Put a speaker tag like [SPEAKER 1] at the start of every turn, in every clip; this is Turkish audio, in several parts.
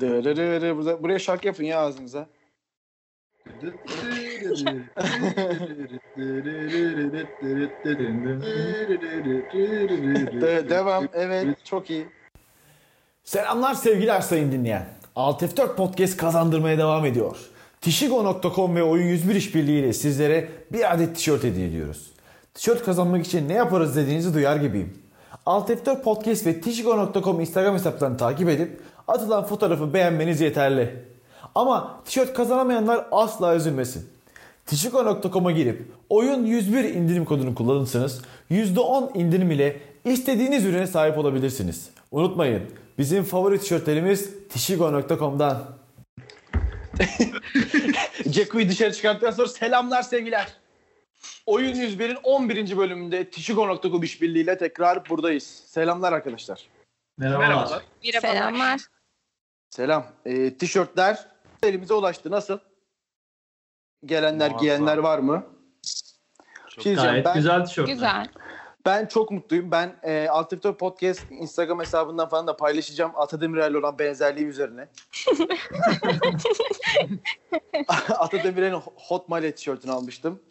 [SPEAKER 1] Dırı dırı burada- buraya şarkı yapın ya ağzınıza. De- devam. Evet. Çok iyi.
[SPEAKER 2] Selamlar sevgili Arsayın dinleyen. 6F4 Podcast kazandırmaya devam ediyor. Tişigo.com ve Oyun 101 işbirliğiyle sizlere bir adet tişört hediye ediyoruz. Tişört kazanmak için ne yaparız dediğinizi duyar gibiyim. 6F4 Podcast ve Tişigo.com Instagram hesaplarını takip edip atılan fotoğrafı beğenmeniz yeterli. Ama tişört kazanamayanlar asla üzülmesin. Tişiko.com'a girip oyun 101 indirim kodunu kullanırsanız %10 indirim ile istediğiniz ürüne sahip olabilirsiniz. Unutmayın bizim favori tişörtlerimiz Tişiko.com'dan.
[SPEAKER 1] Ceku'yu dışarı çıkarttıktan sonra selamlar sevgiler. Oyun 101'in 11. bölümünde Tişigo.com işbirliğiyle tekrar buradayız. Selamlar arkadaşlar.
[SPEAKER 3] Merhabalar.
[SPEAKER 4] Merhabalar.
[SPEAKER 5] Selamlar.
[SPEAKER 1] Selam. Ee, tişörtler elimize ulaştı. Nasıl? Gelenler,
[SPEAKER 3] Muazzam.
[SPEAKER 1] giyenler var mı? şey Çok
[SPEAKER 3] Gayet güzel tişörtler.
[SPEAKER 5] Güzel.
[SPEAKER 1] Ben çok mutluyum. Ben e, Alt F4 Podcast Instagram hesabından falan da paylaşacağım Ata Demirel'le olan benzerliği üzerine. Ata Demirel'in Hot Mallet tişörtünü almıştım.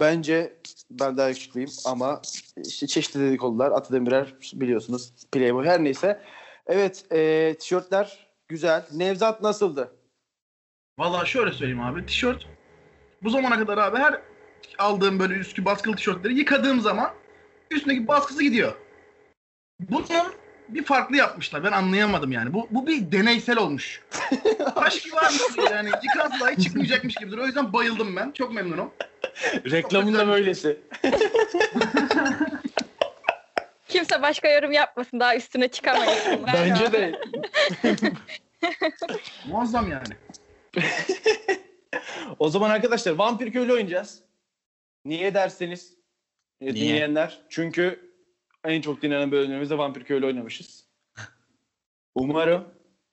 [SPEAKER 1] Bence ben daha yakışıklıyım ama e, işte çeşitli dedikodular. Ata Demirel biliyorsunuz Playboy her neyse. Evet e, tişörtler güzel. Nevzat nasıldı?
[SPEAKER 6] Valla şöyle söyleyeyim abi. Tişört bu zamana kadar abi her aldığım böyle üstü baskılı tişörtleri yıkadığım zaman üstündeki baskısı gidiyor. Bunun bir farklı yapmışlar. Ben anlayamadım yani. Bu, bu bir deneysel olmuş. Taş gibi abi yani. Yıkansa dahi çıkmayacakmış gibi duruyor. O yüzden bayıldım ben. Çok memnunum. Reklamın da
[SPEAKER 1] böylesi.
[SPEAKER 4] Kimse başka yorum yapmasın daha üstüne çıkamayız.
[SPEAKER 1] Bence de.
[SPEAKER 6] Muazzam yani.
[SPEAKER 1] O zaman arkadaşlar Vampir Köylü oynayacağız. Niye derseniz e, dinleyenler. Çünkü en çok dinlenen bölümlerimizde Vampir Köylü oynamışız. Umarım.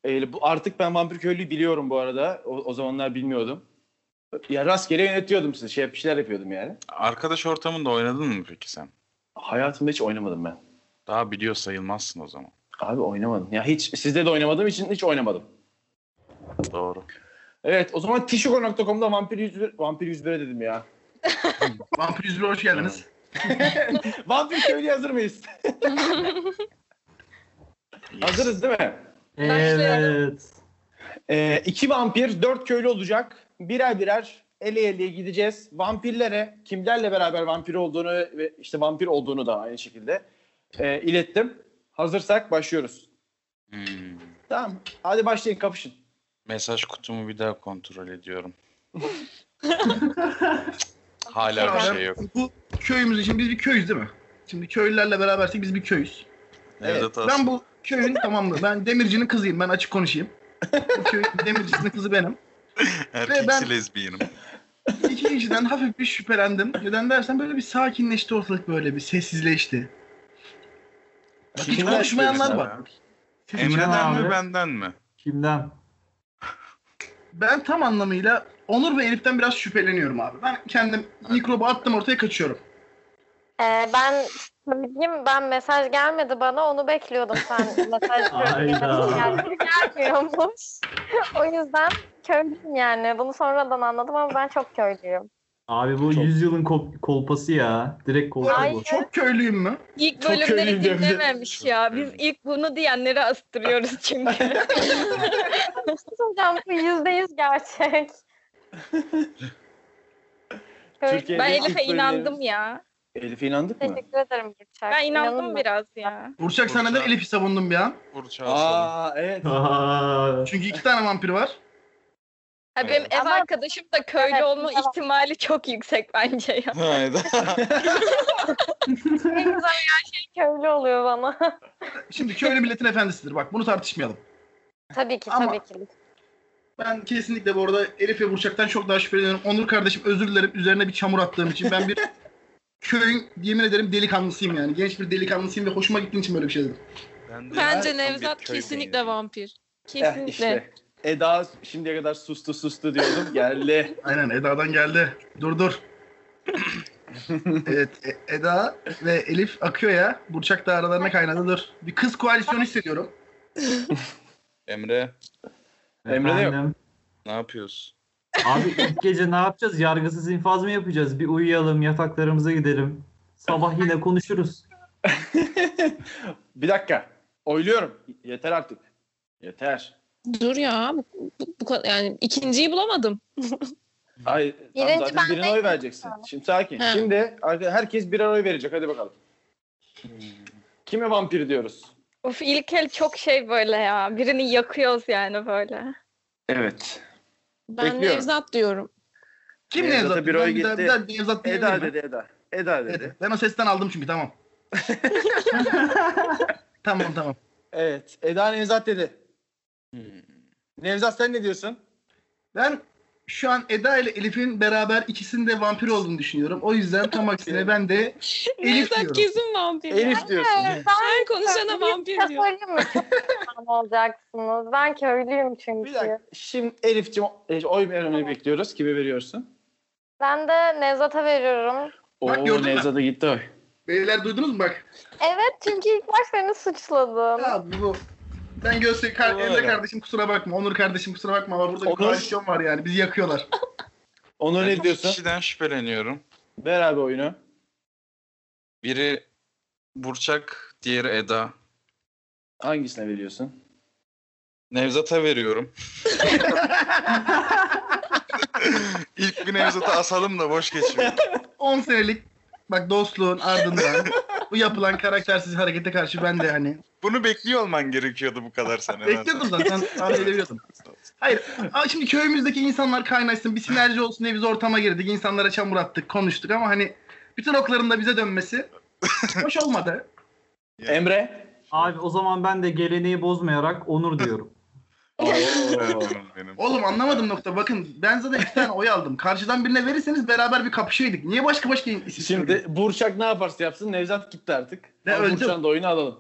[SPEAKER 1] e, bu, artık ben Vampir Köylü'yü biliyorum bu arada. O, o zamanlar bilmiyordum. Ya rastgele yönetiyordum sizi. Şey, bir şeyler yapıyordum yani.
[SPEAKER 7] Arkadaş ortamında oynadın mı peki sen?
[SPEAKER 1] Hayatımda hiç oynamadım ben.
[SPEAKER 7] Daha biliyor sayılmazsın o zaman.
[SPEAKER 1] Abi oynamadım. Ya hiç sizde de oynamadığım için hiç oynamadım.
[SPEAKER 7] Doğru.
[SPEAKER 1] Evet o zaman tişigo.com'da vampir 101 vampir 101'e dedim ya.
[SPEAKER 6] Vampir 101'e hoş geldiniz.
[SPEAKER 1] Vampir köylü hazır mıyız? Hazırız değil mi?
[SPEAKER 3] Evet.
[SPEAKER 1] Ee, iki vampir, dört köylü olacak. Birer birer ele eleye gideceğiz. Vampirlere kimlerle beraber vampir olduğunu ve işte vampir olduğunu da aynı şekilde e, ilettim. Hazırsak başlıyoruz.
[SPEAKER 7] Hmm.
[SPEAKER 1] Tamam. Hadi başlayın kapışın.
[SPEAKER 7] Mesaj kutumu bir daha kontrol ediyorum. Hala bir
[SPEAKER 6] Beraber-
[SPEAKER 7] şey yok.
[SPEAKER 6] Bu köyümüz için biz bir köyüz değil mi? Şimdi köylülerle berabersek biz bir köyüz.
[SPEAKER 7] Nevzat Asım.
[SPEAKER 6] Ben bu köyün tamamlı. Ben demircinin kızıyım. Ben açık konuşayım. Bu köyün demircisinin kızı benim.
[SPEAKER 7] erkeksi
[SPEAKER 6] ben-
[SPEAKER 7] lezbiyenim.
[SPEAKER 6] İki kişiden hafif bir şüphelendim. Neden dersen böyle bir sakinleşti ortalık böyle bir sessizleşti. Bak hiç
[SPEAKER 1] Kimler
[SPEAKER 6] konuşmayanlar
[SPEAKER 1] şüpheleniyor
[SPEAKER 6] var. Siz-
[SPEAKER 7] Emre'den
[SPEAKER 3] abi.
[SPEAKER 7] mi benden mi?
[SPEAKER 3] Kimden?
[SPEAKER 6] Ben tam anlamıyla Onur ve Elif'ten biraz şüpheleniyorum abi. Ben kendim mikrobu attım ortaya kaçıyorum.
[SPEAKER 8] Ee, ben söyleyeyim ben mesaj gelmedi bana onu bekliyordum sen mesaj
[SPEAKER 3] Hayda.
[SPEAKER 8] gelmiyormuş. o yüzden köylüyüm yani bunu sonradan anladım ama ben çok köylüyüm.
[SPEAKER 3] Abi bu
[SPEAKER 1] Çok.
[SPEAKER 3] yüzyılın kol- kolpası ya. Direkt kolpa
[SPEAKER 8] Ay.
[SPEAKER 3] bu.
[SPEAKER 6] Çok köylüyüm mü?
[SPEAKER 4] İlk
[SPEAKER 1] Çok
[SPEAKER 4] bölümleri
[SPEAKER 1] köylüyüm diyorum.
[SPEAKER 4] dinlememiş ya. Biz
[SPEAKER 7] köylüyüm.
[SPEAKER 4] ilk bunu diyenleri astırıyoruz çünkü.
[SPEAKER 8] Hocam bu yüzde yüz gerçek. Köylü-
[SPEAKER 1] Türkiye-
[SPEAKER 4] ben
[SPEAKER 1] ilk
[SPEAKER 4] Elif'e
[SPEAKER 1] bölümleri-
[SPEAKER 4] inandım ya.
[SPEAKER 1] Elif'e inandık mı?
[SPEAKER 8] Teşekkür ederim Gülçak.
[SPEAKER 4] Ben inandım
[SPEAKER 8] İnanılmaz.
[SPEAKER 4] biraz ya.
[SPEAKER 6] Burçak sen neden Elif'i savundun bir an?
[SPEAKER 7] Burç'a asalım.
[SPEAKER 1] Aa evet.
[SPEAKER 3] Aa,
[SPEAKER 6] Çünkü iki tane vampir var.
[SPEAKER 4] Ha, benim ev
[SPEAKER 8] Ama-
[SPEAKER 4] arkadaşım da köylü
[SPEAKER 8] Evet,
[SPEAKER 4] olma
[SPEAKER 8] tamam.
[SPEAKER 4] ihtimali çok yüksek bence ya.
[SPEAKER 7] Hayda.
[SPEAKER 8] En güzel her şey köylü oluyor bana.
[SPEAKER 6] Şimdi köylü milletin efendisidir. Bak bunu tartışmayalım.
[SPEAKER 8] tabii ki
[SPEAKER 6] Ama-
[SPEAKER 8] tabii ki.
[SPEAKER 6] Ben kesinlikle bu arada Elif ve Burçak'tan çok daha şüpheleniyorum. Onur kardeşim özür dilerim üzerine bir çamur attığım için. Ben bir köyün yemin ederim delikanlısıyım yani. Genç bir delikanlısıyım ve hoşuma gittiğin için böyle bir şey dedim.
[SPEAKER 7] Ben de
[SPEAKER 5] Bence
[SPEAKER 7] hayatım bir
[SPEAKER 5] Nevzat
[SPEAKER 7] köy
[SPEAKER 5] kesinlikle
[SPEAKER 7] değilim.
[SPEAKER 5] vampir.
[SPEAKER 1] Eh,
[SPEAKER 5] Kesinlikle.
[SPEAKER 1] işte. Eda şimdiye kadar sustu sustu diyordum. Geldi.
[SPEAKER 6] Aynen Eda'dan geldi. Dur dur. evet E- Eda ve Elif akıyor ya. Burçak da aralarına kaynadı dur. Bir kız koalisyonu hissediyorum.
[SPEAKER 7] Emre
[SPEAKER 1] Emre'de yok.
[SPEAKER 3] Efendim?
[SPEAKER 7] Ne yapıyoruz?
[SPEAKER 3] Abi ilk gece ne yapacağız? Yargısız infaz mı yapacağız? Bir uyuyalım, yataklarımıza gidelim. Sabah yine konuşuruz.
[SPEAKER 1] bir dakika. Oyluyorum. Yeter artık. Yeter.
[SPEAKER 5] Dur ya. Bu, bu- bu kadar- yani ikinciyi bulamadım.
[SPEAKER 1] Ay, tam
[SPEAKER 8] Birinci
[SPEAKER 1] zaten
[SPEAKER 8] ben
[SPEAKER 1] birine
[SPEAKER 8] değilim.
[SPEAKER 1] oy vereceksin. Şimdi sakin.
[SPEAKER 5] He.
[SPEAKER 1] Şimdi arka- herkes birer oy verecek. Hadi bakalım. Kime vampir diyoruz?
[SPEAKER 4] Of İlkel çok şey böyle ya. Birini yakıyoruz yani böyle.
[SPEAKER 1] Evet.
[SPEAKER 5] Ben
[SPEAKER 1] Bekliyorum.
[SPEAKER 5] Nevzat diyorum.
[SPEAKER 6] Kim
[SPEAKER 1] Nevzat'a
[SPEAKER 6] Nevzat?
[SPEAKER 1] bir oy
[SPEAKER 6] Bir daha-
[SPEAKER 1] gitti.
[SPEAKER 6] bir daha Nevzat diyebilir
[SPEAKER 1] Eda
[SPEAKER 6] mi?
[SPEAKER 1] dedi Eda. Eda dedi.
[SPEAKER 6] Evet, ben o sesten aldım çünkü tamam. tamam tamam.
[SPEAKER 1] Evet. Eda Nevzat dedi.
[SPEAKER 7] Hmm.
[SPEAKER 1] Nevzat sen ne diyorsun?
[SPEAKER 6] Ben şu an Eda ile Elif'in beraber ikisinin de vampir olduğunu düşünüyorum. O yüzden tam aksine ben de Elif
[SPEAKER 5] Nevzat
[SPEAKER 6] diyorum.
[SPEAKER 5] kesin vampir. ya.
[SPEAKER 1] Elif diyorsun.
[SPEAKER 8] Evet,
[SPEAKER 4] Şey-
[SPEAKER 8] ben
[SPEAKER 5] Her konuşana vampir
[SPEAKER 8] size
[SPEAKER 5] diyor.
[SPEAKER 8] şey söyleyeyim mi? Çok pişman olacaksınız. Ben köylüyüm çünkü.
[SPEAKER 1] Bir dakika. Şimdi Elif'ciğim e, oy vermeni bekliyoruz. Kime veriyorsun?
[SPEAKER 8] Ben de Nevzat'a veriyorum.
[SPEAKER 6] Bak,
[SPEAKER 1] Oo
[SPEAKER 6] gördün mü?
[SPEAKER 1] Nevzat'a gitti oy.
[SPEAKER 6] Beyler duydunuz mu bak?
[SPEAKER 8] Evet çünkü ilk baş beni suçladım.
[SPEAKER 6] Ya bu- bu. Ben Gözde kar
[SPEAKER 1] Doğru.
[SPEAKER 6] Emre kardeşim kusura bakma. Onur kardeşim kusura bakma ama burada
[SPEAKER 1] Onur-
[SPEAKER 6] bir koalisyon var yani. Bizi yakıyorlar.
[SPEAKER 1] Onur
[SPEAKER 7] Ben
[SPEAKER 1] ne
[SPEAKER 7] iki
[SPEAKER 1] diyorsun?
[SPEAKER 7] Kişiden şüpheleniyorum.
[SPEAKER 1] Ver abi oyunu.
[SPEAKER 7] Biri Burçak, diğeri Eda.
[SPEAKER 1] Hangisine veriyorsun?
[SPEAKER 7] Nevzat'a veriyorum. İlk bir Nevzat'a asalım da boş geçiyor.
[SPEAKER 6] 10 senelik bak dostluğun ardından bu yapılan karaktersiz harekete karşı ben de hani
[SPEAKER 7] Bunu bekliyor olman gerekiyordu bu kadar sene.
[SPEAKER 6] bekliyordum zaten. Tahmin edebiliyordum. Hayır. a- Şimdi köyümüzdeki insanlar kaynaşsın. Bir sinerji olsun diye biz ortama girdik. insanlara çamur attık. Konuştuk ama hani bütün okların da bize dönmesi hoş olmadı.
[SPEAKER 7] Ya.
[SPEAKER 1] Emre?
[SPEAKER 3] Abi o zaman ben de geleneği bozmayarak Onur diyorum.
[SPEAKER 7] Öğretmenim benim.
[SPEAKER 6] Oğlum anlamadım nokta. Bakın ben zaten iki tane oy aldım. Karşıdan birine verirseniz beraber bir kapışıyorduk. Niye başka başka isim
[SPEAKER 1] Şimdi Burçak ne yaparsa yapsın Nevzat gitti artık.
[SPEAKER 6] Ne,
[SPEAKER 1] Ama
[SPEAKER 6] öldü mü?
[SPEAKER 1] Burçak'ın da oyunu alalım.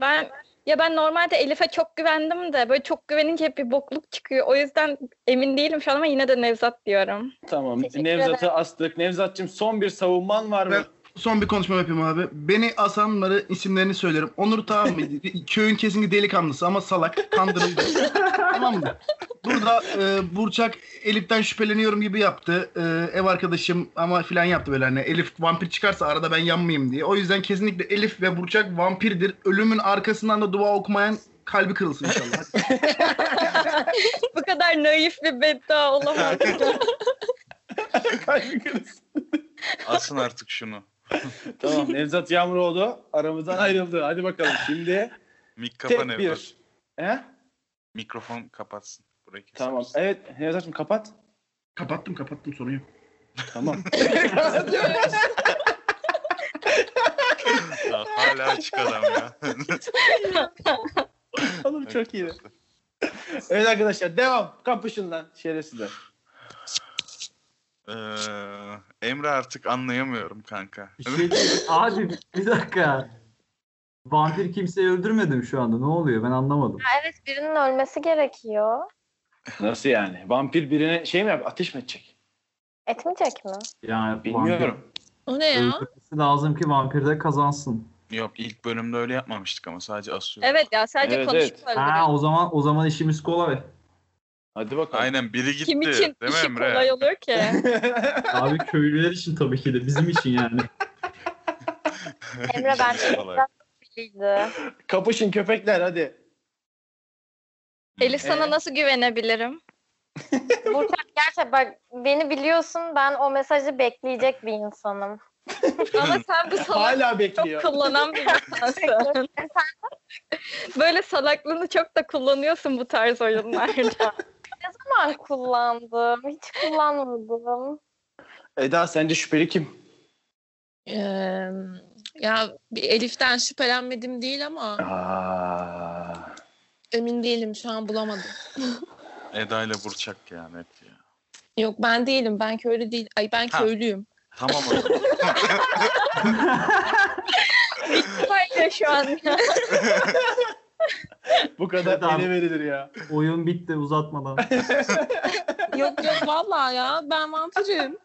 [SPEAKER 4] Ben ya ben normalde Elif'e çok güvendim de böyle çok güvenince hep bir bokluk çıkıyor. O yüzden emin değilim şu an ama yine de Nevzat diyorum.
[SPEAKER 1] Tamam.
[SPEAKER 8] Teşekkür
[SPEAKER 1] Nevzat'ı astık. Nevzat'cığım son bir savunman var mı?
[SPEAKER 6] Ben- Son bir konuşma yapayım abi. Beni asanları isimlerini söylerim. Onur tamam mı? Köyün kesinlikle delikanlısı ama salak. Kandırıldı. tamam mı? Burada e, Burçak Elif'ten şüpheleniyorum gibi yaptı. E, ev arkadaşım ama filan yaptı böyle hani. Elif vampir çıkarsa arada ben yanmayayım diye. O yüzden kesinlikle Elif ve Burçak vampirdir. Ölümün arkasından da dua okumayan kalbi kırılsın inşallah.
[SPEAKER 4] Bu kadar naif bir beddua olamaz.
[SPEAKER 7] Asın artık şunu.
[SPEAKER 1] tamam. Nevzat Yağmuroğlu aramızdan ayrıldı. Hadi bakalım. Şimdi
[SPEAKER 7] Mik kapa
[SPEAKER 1] tek
[SPEAKER 7] Nevzat.
[SPEAKER 1] bir. He?
[SPEAKER 7] Mikrofon kapatsın. Burayı kesin.
[SPEAKER 1] Tamam. Evet Nevzat'cığım kapat.
[SPEAKER 6] kapattım kapattım soruyu.
[SPEAKER 1] Tamam.
[SPEAKER 7] Ya, hala açık adam ya.
[SPEAKER 1] Oğlum çok iyi. Evet arkadaşlar devam. Kapışın lan şerefsizler.
[SPEAKER 7] Ee, Emre artık anlayamıyorum kanka.
[SPEAKER 3] Bir şey diyeyim. Abi bir dakika. Vampir kimseyi öldürmedim şu anda. Ne oluyor? Ben anlamadım.
[SPEAKER 8] Ya evet birinin ölmesi gerekiyor.
[SPEAKER 1] Nasıl yani? Vampir birine şey mi yap? Ateş mi edecek?
[SPEAKER 8] Etmeyecek mi?
[SPEAKER 3] Yani
[SPEAKER 1] Bilmiyorum.
[SPEAKER 5] O ne
[SPEAKER 3] vampir
[SPEAKER 5] ya?
[SPEAKER 3] öldürmesi lazım ki vampir de kazansın.
[SPEAKER 7] Yok ilk bölümde öyle yapmamıştık ama sadece asıyor.
[SPEAKER 4] evet ya sadece
[SPEAKER 1] Evet,
[SPEAKER 4] konuşup öldürüyor.
[SPEAKER 3] Ha o zaman o zaman işimiz kolay.
[SPEAKER 1] Hadi bakalım.
[SPEAKER 7] Aynen biri gitti.
[SPEAKER 4] Kim için
[SPEAKER 7] Değil mi
[SPEAKER 4] işi
[SPEAKER 7] Emre?
[SPEAKER 4] kolay olur ki?
[SPEAKER 3] Abi köylüler için tabii ki de bizim için yani.
[SPEAKER 8] Emre ben
[SPEAKER 7] İşimiz kolay.
[SPEAKER 8] Bildi.
[SPEAKER 1] Kapışın köpekler hadi.
[SPEAKER 4] Elif sana
[SPEAKER 1] Ee?
[SPEAKER 4] nasıl güvenebilirim?
[SPEAKER 8] Burçak gerçi bak beni biliyorsun ben o mesajı bekleyecek bir insanım.
[SPEAKER 4] Ama sen bu salak
[SPEAKER 1] Hala bekliyor.
[SPEAKER 4] çok kullanan bir insansın. Böyle salaklığını çok da kullanıyorsun bu tarz oyunlarda.
[SPEAKER 8] Ama kullandım. Hiç kullanmadım.
[SPEAKER 1] Eda sence şüpheli kim?
[SPEAKER 5] Ee, ya bir Elif'ten şüphelenmedim değil ama
[SPEAKER 1] Aa,
[SPEAKER 5] emin değilim şu an bulamadım.
[SPEAKER 7] Eda ile Burçak ya net ya.
[SPEAKER 5] Yok ben değilim. Ben köylü değil. Ay ben
[SPEAKER 7] Ha.
[SPEAKER 5] köylüyüm.
[SPEAKER 7] Tamam o zaman.
[SPEAKER 4] Hayır şu an ya.
[SPEAKER 1] bu kadar
[SPEAKER 3] Adam.
[SPEAKER 1] ele verilir ya.
[SPEAKER 3] Oyun bitti uzatmadan.
[SPEAKER 5] Yok yok vallahi ya ben vampirim.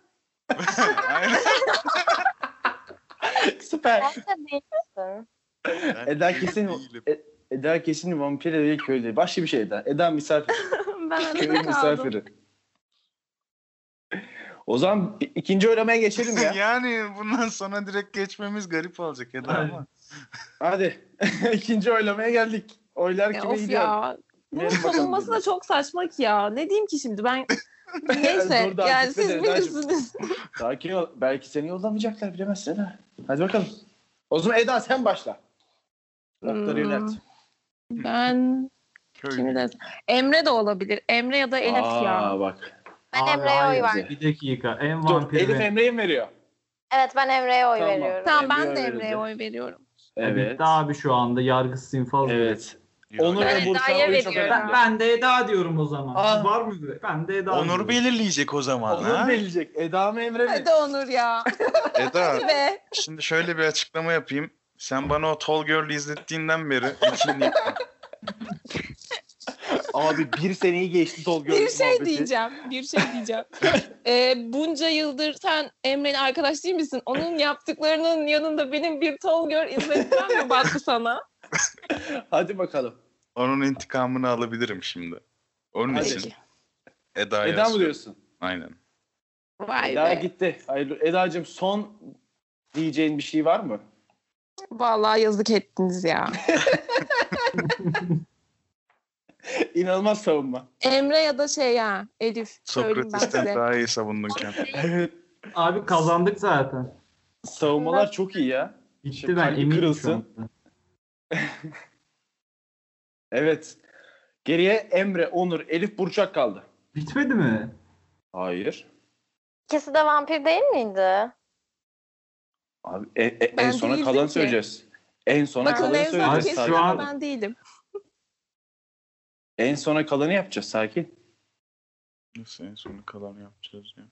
[SPEAKER 7] Aynen.
[SPEAKER 1] Süper.
[SPEAKER 8] Bence değilsin.
[SPEAKER 7] Ben
[SPEAKER 1] Eda
[SPEAKER 7] köylü
[SPEAKER 1] kesin-
[SPEAKER 7] değilim.
[SPEAKER 1] Eda kesin vampir değil köylü değil. Başka bir şey Eda. Eda misafir.
[SPEAKER 5] ben
[SPEAKER 1] Köylü
[SPEAKER 5] arada kaldım.
[SPEAKER 1] misafiri. O zaman i- ikinci oylamaya geçelim ya.
[SPEAKER 7] yani bundan sonra direkt geçmemiz garip olacak Eda
[SPEAKER 3] Aynen.
[SPEAKER 7] ama.
[SPEAKER 1] Hadi. ikinci oylamaya geldik. Oylar
[SPEAKER 5] Ya
[SPEAKER 1] kime
[SPEAKER 5] of
[SPEAKER 1] gidiyor?
[SPEAKER 5] ya. Bunun
[SPEAKER 1] Verin bakalım
[SPEAKER 5] savunması da
[SPEAKER 1] biraz.
[SPEAKER 5] çok saçma ki ya. Ne diyeyim ki şimdi ben neyse
[SPEAKER 1] Dur daha
[SPEAKER 5] yani
[SPEAKER 1] gitmedi
[SPEAKER 5] siz
[SPEAKER 1] Eda'cığım.
[SPEAKER 5] bilirsiniz.
[SPEAKER 1] Sakin ol. Belki seni yollamayacaklar bilemezsin ha. Hadi bakalım. O zaman Eda sen başla. Okları
[SPEAKER 5] Hmm.
[SPEAKER 1] yönelt.
[SPEAKER 5] Ben kimi
[SPEAKER 7] Köylü.
[SPEAKER 5] de Emre de olabilir. Emre ya da Elif ya.
[SPEAKER 1] Aa bak.
[SPEAKER 8] Ben
[SPEAKER 3] Abi,
[SPEAKER 8] Emre'ye
[SPEAKER 3] hayır.
[SPEAKER 8] oy verdim.
[SPEAKER 1] Güzel.
[SPEAKER 3] Bir dakika. En
[SPEAKER 1] Dur,
[SPEAKER 3] vampiri.
[SPEAKER 1] Elif Emre'yi mi veriyor?
[SPEAKER 8] Evet ben Emre'ye oy
[SPEAKER 1] Tamam.
[SPEAKER 8] veriyorum.
[SPEAKER 5] Tamam ben
[SPEAKER 1] Emre'ye
[SPEAKER 5] de
[SPEAKER 1] verildi.
[SPEAKER 5] Emre'ye oy veriyorum.
[SPEAKER 1] Evet.
[SPEAKER 3] Bitti abi şu anda yargısız infaz.
[SPEAKER 1] Evet. Onur
[SPEAKER 7] Yok.
[SPEAKER 1] ve
[SPEAKER 4] Ben
[SPEAKER 1] Bursa
[SPEAKER 4] Eda'ya
[SPEAKER 1] oyu çok
[SPEAKER 4] veriyorum.
[SPEAKER 1] önemli.
[SPEAKER 3] Ben, ben de Eda diyorum o zaman.
[SPEAKER 1] Aa.
[SPEAKER 3] Var mı? böyle? Ben de Eda
[SPEAKER 7] Onur
[SPEAKER 3] diyorum.
[SPEAKER 7] belirleyecek o zaman ha.
[SPEAKER 1] Onur belirleyecek. Eda mı Emre mi?
[SPEAKER 5] Hadi Onur ya.
[SPEAKER 7] Eda
[SPEAKER 5] Hadi be.
[SPEAKER 7] şimdi şöyle bir açıklama yapayım. Sen bana o Tall Girl'ü izlettiğinden beri içimlik-
[SPEAKER 1] Abi bir seneyi geçti Tolga.
[SPEAKER 5] bir şey diyeceğim. Bir şey diyeceğim. Ee, bunca yıldır sen Emre'nin arkadaş değil misin? Onun yaptıklarının yanında benim bir tol gör izletmem mi battı sana?
[SPEAKER 1] Hadi bakalım.
[SPEAKER 7] onun intikamını alabilirim şimdi. Onun
[SPEAKER 1] Hadi.
[SPEAKER 7] için Eda'ya
[SPEAKER 1] Eda mı
[SPEAKER 7] yazıyorum.
[SPEAKER 1] diyorsun?
[SPEAKER 7] Aynen.
[SPEAKER 5] Vay
[SPEAKER 1] Eda
[SPEAKER 5] be.
[SPEAKER 1] gitti. Hayırlı. Eda'cığım son diyeceğin bir şey var mı?
[SPEAKER 5] Vallahi yazık ettiniz ya.
[SPEAKER 1] İnanılmaz savunma.
[SPEAKER 5] Emre ya da şey ya Elif. Söyleyeyim ben
[SPEAKER 7] Sokrates'ten
[SPEAKER 5] size.
[SPEAKER 7] daha iyi savundun kendini.
[SPEAKER 1] Evet.
[SPEAKER 3] Abi kazandık zaten.
[SPEAKER 1] Savunmalar çok iyi ya.
[SPEAKER 3] Bitti ben
[SPEAKER 1] Kalbi
[SPEAKER 3] eminim
[SPEAKER 1] kırılsın.
[SPEAKER 3] şu anda.
[SPEAKER 1] Evet. Geriye Emre, Onur, Elif, Burçak kaldı.
[SPEAKER 3] Bitmedi mi?
[SPEAKER 1] Hayır.
[SPEAKER 8] İkisi de vampir değil miydi?
[SPEAKER 1] Abi e- e- en
[SPEAKER 5] Ben
[SPEAKER 1] sona
[SPEAKER 5] değildim
[SPEAKER 1] kalan
[SPEAKER 5] ki.
[SPEAKER 1] söyleyeceğiz. En sona
[SPEAKER 5] Bakın
[SPEAKER 1] kalanı
[SPEAKER 5] Nevzat
[SPEAKER 1] söyleyeceğiz.
[SPEAKER 3] kesin
[SPEAKER 5] kesin
[SPEAKER 1] Sakin.
[SPEAKER 3] şu
[SPEAKER 5] ama
[SPEAKER 3] an-
[SPEAKER 5] ben değilim.
[SPEAKER 1] En sona kalanı yapacağız. Sakin.
[SPEAKER 7] Neyse en sonu kalan yapacağız ya.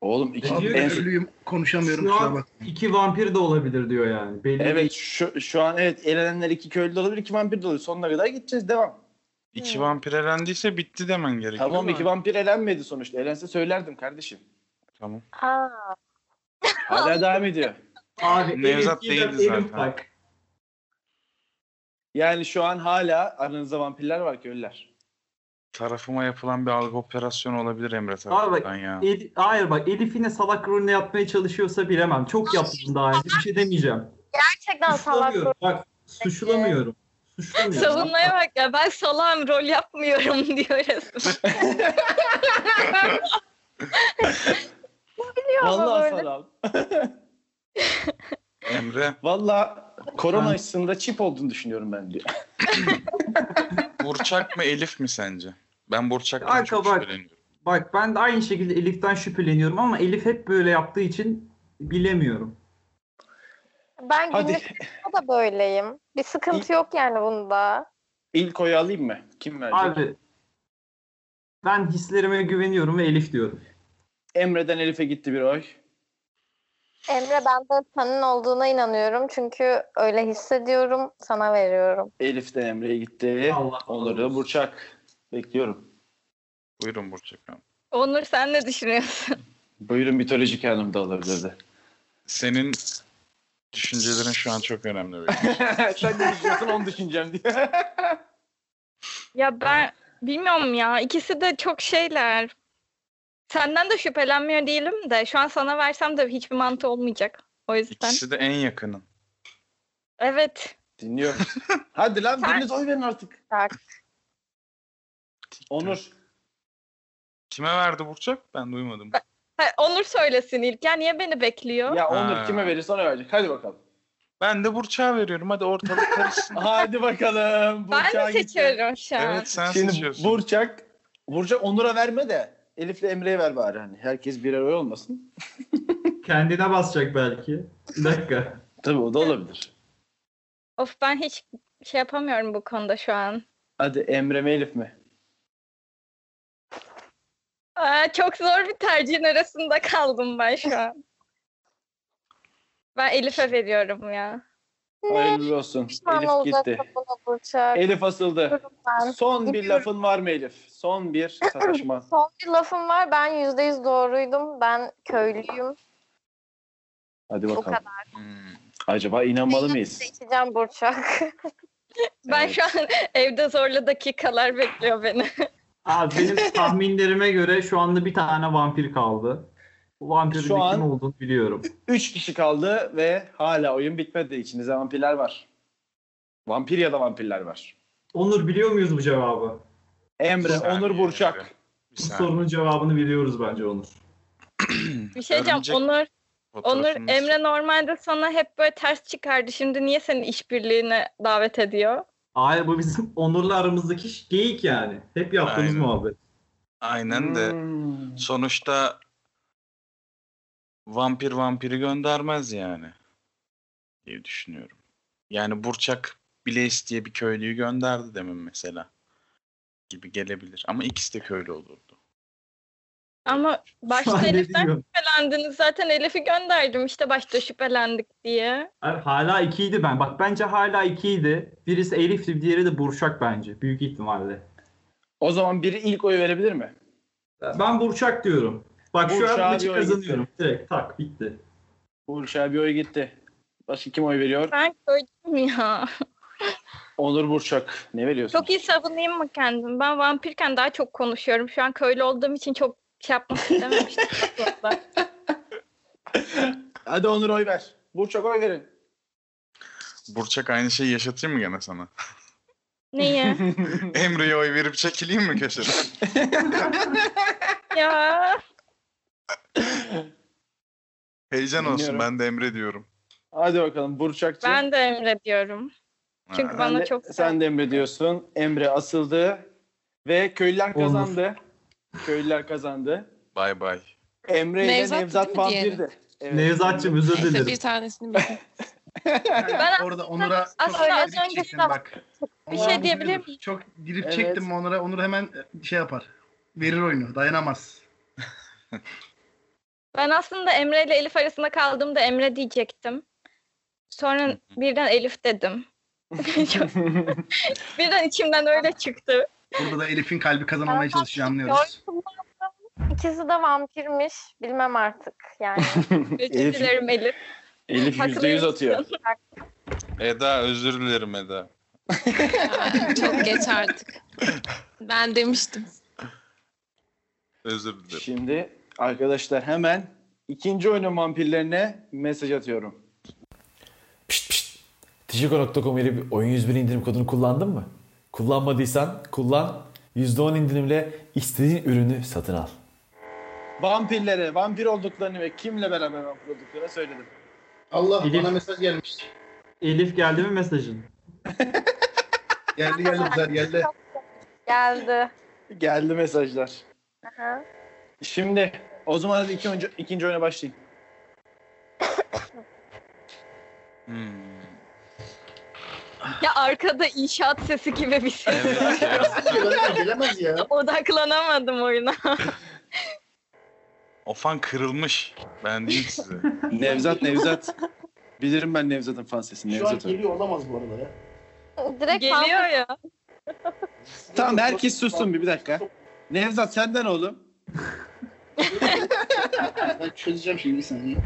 [SPEAKER 1] Oğlum
[SPEAKER 6] Ben
[SPEAKER 1] ikinci
[SPEAKER 6] diyor
[SPEAKER 1] en
[SPEAKER 6] ki ölüyüm konuşamıyorum.
[SPEAKER 3] Şu
[SPEAKER 6] kusura
[SPEAKER 3] an
[SPEAKER 6] bak.
[SPEAKER 3] iki vampir de olabilir diyor yani. Belli
[SPEAKER 1] Evet şu, şu an evet elenenler iki köylü de olabilir iki vampir de olabilir. Sonuna kadar gideceğiz devam.
[SPEAKER 7] İki vampir elendiyse bitti demen gerekiyor.
[SPEAKER 1] tamam iki vampir elenmedi sonuçta. Elense söylerdim kardeşim.
[SPEAKER 7] Tamam.
[SPEAKER 8] Aa,
[SPEAKER 1] Hala devam ediyor.
[SPEAKER 3] Abi
[SPEAKER 7] Nevzat
[SPEAKER 3] Elif yine
[SPEAKER 7] değildi
[SPEAKER 3] Elif
[SPEAKER 7] zaten.
[SPEAKER 3] bak.
[SPEAKER 1] Yani şu an hala aranızda vampirler var köylüler.
[SPEAKER 7] Tarafıma yapılan bir algı operasyonu olabilir Emre
[SPEAKER 3] Abi
[SPEAKER 7] tarafından
[SPEAKER 3] bak,
[SPEAKER 7] ya.
[SPEAKER 3] Elif- hayır bak Elif yine salak rolünü yapmaya çalışıyorsa bilemem. Çok yaptım daha önce. Bir şey demeyeceğim.
[SPEAKER 8] gerçekten salak
[SPEAKER 3] Suçlamıyorum. Bak suçlamıyorum. Suçlamıyorum.
[SPEAKER 4] Savunmaya bak ya ben salam rol yapmıyorum diyor resmen.
[SPEAKER 8] biliyor ama
[SPEAKER 1] Vallahi
[SPEAKER 8] böyle.
[SPEAKER 1] salam.
[SPEAKER 7] Emre
[SPEAKER 1] Vallahi korona
[SPEAKER 3] Ben-
[SPEAKER 1] aşısında çip olduğunu düşünüyorum ben diyor.
[SPEAKER 7] Burçak mı Elif mi sence? Ben Burçak'tan
[SPEAKER 3] Kanka
[SPEAKER 7] çok
[SPEAKER 3] bak.
[SPEAKER 7] şüpheleniyorum.
[SPEAKER 3] Bak ben de aynı şekilde Elif'ten şüpheleniyorum ama Elif hep böyle yaptığı için bilemiyorum.
[SPEAKER 8] Ben
[SPEAKER 1] Hadi
[SPEAKER 8] günlük hayatta da böyleyim. Bir sıkıntı yok yani bunda.
[SPEAKER 1] ilk oyu alayım mı? Kim verecek?
[SPEAKER 3] Abi ben hislerime güveniyorum ve Elif diyorum.
[SPEAKER 1] Emre'den Elif'e gitti bir oy.
[SPEAKER 8] Emre ben de senin olduğuna inanıyorum. Çünkü öyle hissediyorum. Sana veriyorum.
[SPEAKER 1] Elif de Emre'ye gitti.
[SPEAKER 3] Allah
[SPEAKER 1] Onur
[SPEAKER 3] Allah.
[SPEAKER 1] da Burçak. Bekliyorum.
[SPEAKER 7] Buyurun Burçak abi.
[SPEAKER 4] Onur sen ne düşünüyorsun?
[SPEAKER 1] Buyurun mitolojik hanım da olabilirdi.
[SPEAKER 7] Senin düşüncelerin şu an çok önemli. benim için.
[SPEAKER 1] Sen ne düşünüyorsun onu düşüneceğim diye.
[SPEAKER 4] Ya ben bilmiyorum ya ikisi de çok şeyler. Senden de şüphelenmiyor değilim de şu an sana versem de hiçbir mantığı olmayacak. O yüzden.
[SPEAKER 7] İkisi de en yakının.
[SPEAKER 4] Evet.
[SPEAKER 1] Dinliyorum. Hadi lan biriniz oy verin artık.
[SPEAKER 8] Tak.
[SPEAKER 1] Onur.
[SPEAKER 7] Kime verdi Burçak? Ben duymadım.
[SPEAKER 4] Ha, Onur söylesin ilk. Ya niye beni bekliyor?
[SPEAKER 1] Ya Onur
[SPEAKER 7] Ha.
[SPEAKER 1] kime verirse ona verecek. Hadi bakalım.
[SPEAKER 7] Ben de Burçak'a veriyorum. Hadi ortalık karışsın.
[SPEAKER 1] Hadi bakalım.
[SPEAKER 4] ben
[SPEAKER 1] Burçak'a
[SPEAKER 4] de
[SPEAKER 1] gitti.
[SPEAKER 4] seçiyorum şu an.
[SPEAKER 7] evet sen
[SPEAKER 1] Şimdi
[SPEAKER 7] seçiyorsun.
[SPEAKER 1] Burçak, Burçak Onur'a verme de Elif'le Emre'ye ver bari. Hani herkes birer oy olmasın.
[SPEAKER 3] Kendine basacak belki. Bir dakika.
[SPEAKER 1] Tabii o da olabilir.
[SPEAKER 4] Of ben hiç şey yapamıyorum bu konuda şu an.
[SPEAKER 1] Hadi Emre mi Elif mi?
[SPEAKER 4] Aa, çok zor bir tercihin arasında kaldım ben şu an. Ben Elif'e veriyorum ya.
[SPEAKER 1] Hayırlı olsun. Elif
[SPEAKER 8] Pişman
[SPEAKER 1] gitti. E-
[SPEAKER 8] olacaksın buna Burçak.
[SPEAKER 1] Elif asıldı.
[SPEAKER 8] Ben.
[SPEAKER 1] Son bir
[SPEAKER 8] Gidiyorum.
[SPEAKER 1] lafın var mı Elif? Son bir sataşma.
[SPEAKER 8] Son bir lafım var. Ben yüzde yüz doğruydum. Ben köylüyüm.
[SPEAKER 1] Hadi
[SPEAKER 8] Bu
[SPEAKER 1] bakalım.
[SPEAKER 8] kadar.
[SPEAKER 7] Hmm.
[SPEAKER 1] Acaba inanmalı mıyız?
[SPEAKER 8] Seçeceğim Burçak.
[SPEAKER 4] Ben şu an evde zorlu dakikalar bekliyor beni.
[SPEAKER 3] Abi benim tahminlerime göre şu anda bir tane vampir kaldı. Bu vampirin
[SPEAKER 1] Şu
[SPEAKER 3] de kim
[SPEAKER 1] an-
[SPEAKER 3] olduğunu biliyorum.
[SPEAKER 1] Üç kişi kaldı ve hala oyun bitmedi. İçinizde vampirler var. Vampir ya da vampirler var.
[SPEAKER 3] Onur biliyor muyuz bu cevabı?
[SPEAKER 1] Emre,
[SPEAKER 7] Saniye.
[SPEAKER 1] Onur Burçak.
[SPEAKER 7] Bir
[SPEAKER 3] Bu
[SPEAKER 7] saniye.
[SPEAKER 3] sorunun cevabını biliyoruz bence Onur.
[SPEAKER 4] Bir şey diyeceğim.
[SPEAKER 7] Örümcek
[SPEAKER 4] Onur, Onur
[SPEAKER 7] Fotoğrafınız-
[SPEAKER 4] Emre normalde sana hep böyle ters çıkardı. Şimdi niye seni işbirliğine davet ediyor?
[SPEAKER 3] Hayır bu bizim Onur'la aramızdaki ş- geyik yani. Hep yaptığımız
[SPEAKER 7] Aynen.
[SPEAKER 3] muhabbet.
[SPEAKER 7] Aynen de
[SPEAKER 1] Hmm.
[SPEAKER 7] sonuçta vampir vampiri göndermez yani diye düşünüyorum. Yani Burçak Bileys diye bir köylüyü gönderdi demin mesela gibi gelebilir. Ama ikisi de köylü olurdu.
[SPEAKER 4] Ama
[SPEAKER 3] Şu an
[SPEAKER 4] başta
[SPEAKER 3] ne
[SPEAKER 4] Elif'ten
[SPEAKER 3] diyor?
[SPEAKER 4] şüphelendiniz. Zaten Elif'i gönderdim işte başta şüphelendik diye.
[SPEAKER 3] Hayır, Er, Hala ikiydi ben. Bak bence hala ikiydi. Birisi Elif'ti, diğeri de Burçak bence. Büyük ihtimalle.
[SPEAKER 1] O zaman biri ilk oyu verebilir mi?
[SPEAKER 3] Ben Burçak diyorum. Bak şu
[SPEAKER 1] Burçak'a
[SPEAKER 3] an maçı
[SPEAKER 1] diyor,
[SPEAKER 3] kazanıyorum. Direkt tak bitti.
[SPEAKER 1] Burçak bir oy gitti. Başka kim oy veriyor?
[SPEAKER 4] Ben köylüyüm ya.
[SPEAKER 1] Onur Burçak. Ne veriyorsun?
[SPEAKER 4] Çok iyi savunayım mı kendim? Ben vampirken daha çok konuşuyorum. Şu an köylü olduğum için çok şey yapmak istememiştim. aslında.
[SPEAKER 1] Hadi Onur oy ver. Burçak oy verin.
[SPEAKER 7] Burçak aynı şeyi yaşatayım mı gene sana?
[SPEAKER 4] Neyi?
[SPEAKER 7] Emre'ye oy verip çekileyim mi köşeden?
[SPEAKER 4] ya.
[SPEAKER 7] Heyecan olsun
[SPEAKER 1] Dinliyorum.
[SPEAKER 7] ben de Emre diyorum.
[SPEAKER 1] Hadi bakalım Burçak'cığım.
[SPEAKER 4] Ben de Emre diyorum. Çünkü
[SPEAKER 7] Ha.
[SPEAKER 1] Sen
[SPEAKER 4] Bana
[SPEAKER 1] de-
[SPEAKER 4] çok
[SPEAKER 1] sen de Emre diyorsun. Emre asıldı ve köylüler
[SPEAKER 3] Onur.
[SPEAKER 1] kazandı. Köylüler kazandı.
[SPEAKER 7] Bay bay.
[SPEAKER 1] Emre ile
[SPEAKER 5] Nevzat'tı
[SPEAKER 1] Nevzat
[SPEAKER 5] değil mi
[SPEAKER 1] vampirdi. Evet.
[SPEAKER 3] Nevzat'cığım özür
[SPEAKER 5] Neyse
[SPEAKER 3] dilerim.
[SPEAKER 5] bir tanesini bildim.
[SPEAKER 4] Ben
[SPEAKER 6] Orada Onur'a çok
[SPEAKER 4] aslında az
[SPEAKER 6] dirip
[SPEAKER 4] önce
[SPEAKER 6] çektim bak.
[SPEAKER 4] bir
[SPEAKER 6] Onur
[SPEAKER 4] şey
[SPEAKER 6] abi
[SPEAKER 4] diyebilir
[SPEAKER 6] biliyordur.
[SPEAKER 4] miyim?
[SPEAKER 6] Çok dirip
[SPEAKER 1] Evet.
[SPEAKER 6] çektim Onur'a. Onur hemen e, şey yapar. Verir oyunu. Dayanamaz.
[SPEAKER 4] Ben aslında Emre ile Elif arasında kaldığımda Emre diyecektim. Sonra birden Elif dedim. Çok- birden içimden öyle çıktı.
[SPEAKER 6] Burada da Elif'in kalbi kazanmaya çalışıyor anlıyoruz.
[SPEAKER 8] İkisi de vampirmiş. Bilmem artık yani.
[SPEAKER 4] Özür
[SPEAKER 1] Elif-
[SPEAKER 4] dilerim Elif.
[SPEAKER 1] Elif yüzde yüz atıyor.
[SPEAKER 7] Eda özür dilerim Eda.
[SPEAKER 5] Ya, çok geç artık. Ben demiştim.
[SPEAKER 7] Özür dilerim.
[SPEAKER 1] Şimdi arkadaşlar hemen ikinci oyunun vampirlerine mesaj atıyorum.
[SPEAKER 2] Pişt pişt. Tişiko.com ile oyun 101 indirim kodunu kullandın mı? Kullanmadıysan kullan. %10 indirimle istediğin ürünü satın al.
[SPEAKER 1] Vampirlere, vampir olduklarını ve kimle beraber vampir olduklarını söyledim.
[SPEAKER 6] Allah
[SPEAKER 3] Elif- bana
[SPEAKER 6] mesaj gelmiş.
[SPEAKER 3] Elif geldi mi mesajın?
[SPEAKER 6] Geldi geldi güzel geldi.
[SPEAKER 8] Geldi.
[SPEAKER 1] Geldi mesajlar.
[SPEAKER 8] Aha.
[SPEAKER 1] Şimdi o zaman hadi iki oyuncu- ikinci oyuna başlayın.
[SPEAKER 7] Hmm.
[SPEAKER 4] Ya arkada inşaat sesi gibi bir ses.
[SPEAKER 7] Evet ya.
[SPEAKER 6] Gelemez ya.
[SPEAKER 4] Odaklanamadım oyuna.
[SPEAKER 7] O fan kırılmış. Ben diyeyim size.
[SPEAKER 1] Nevzat, Nevzat. Bilirim ben Nevzat'ın fan sesini. Nevzat oynuyor.
[SPEAKER 6] olamaz bu arada ya.
[SPEAKER 8] Direkt
[SPEAKER 4] Geliyor ya.
[SPEAKER 1] Tamam herkes sussun bir, bir dakika. Nevzat senden oğlum.
[SPEAKER 6] Ben çözeceğim şimdi bir saniye.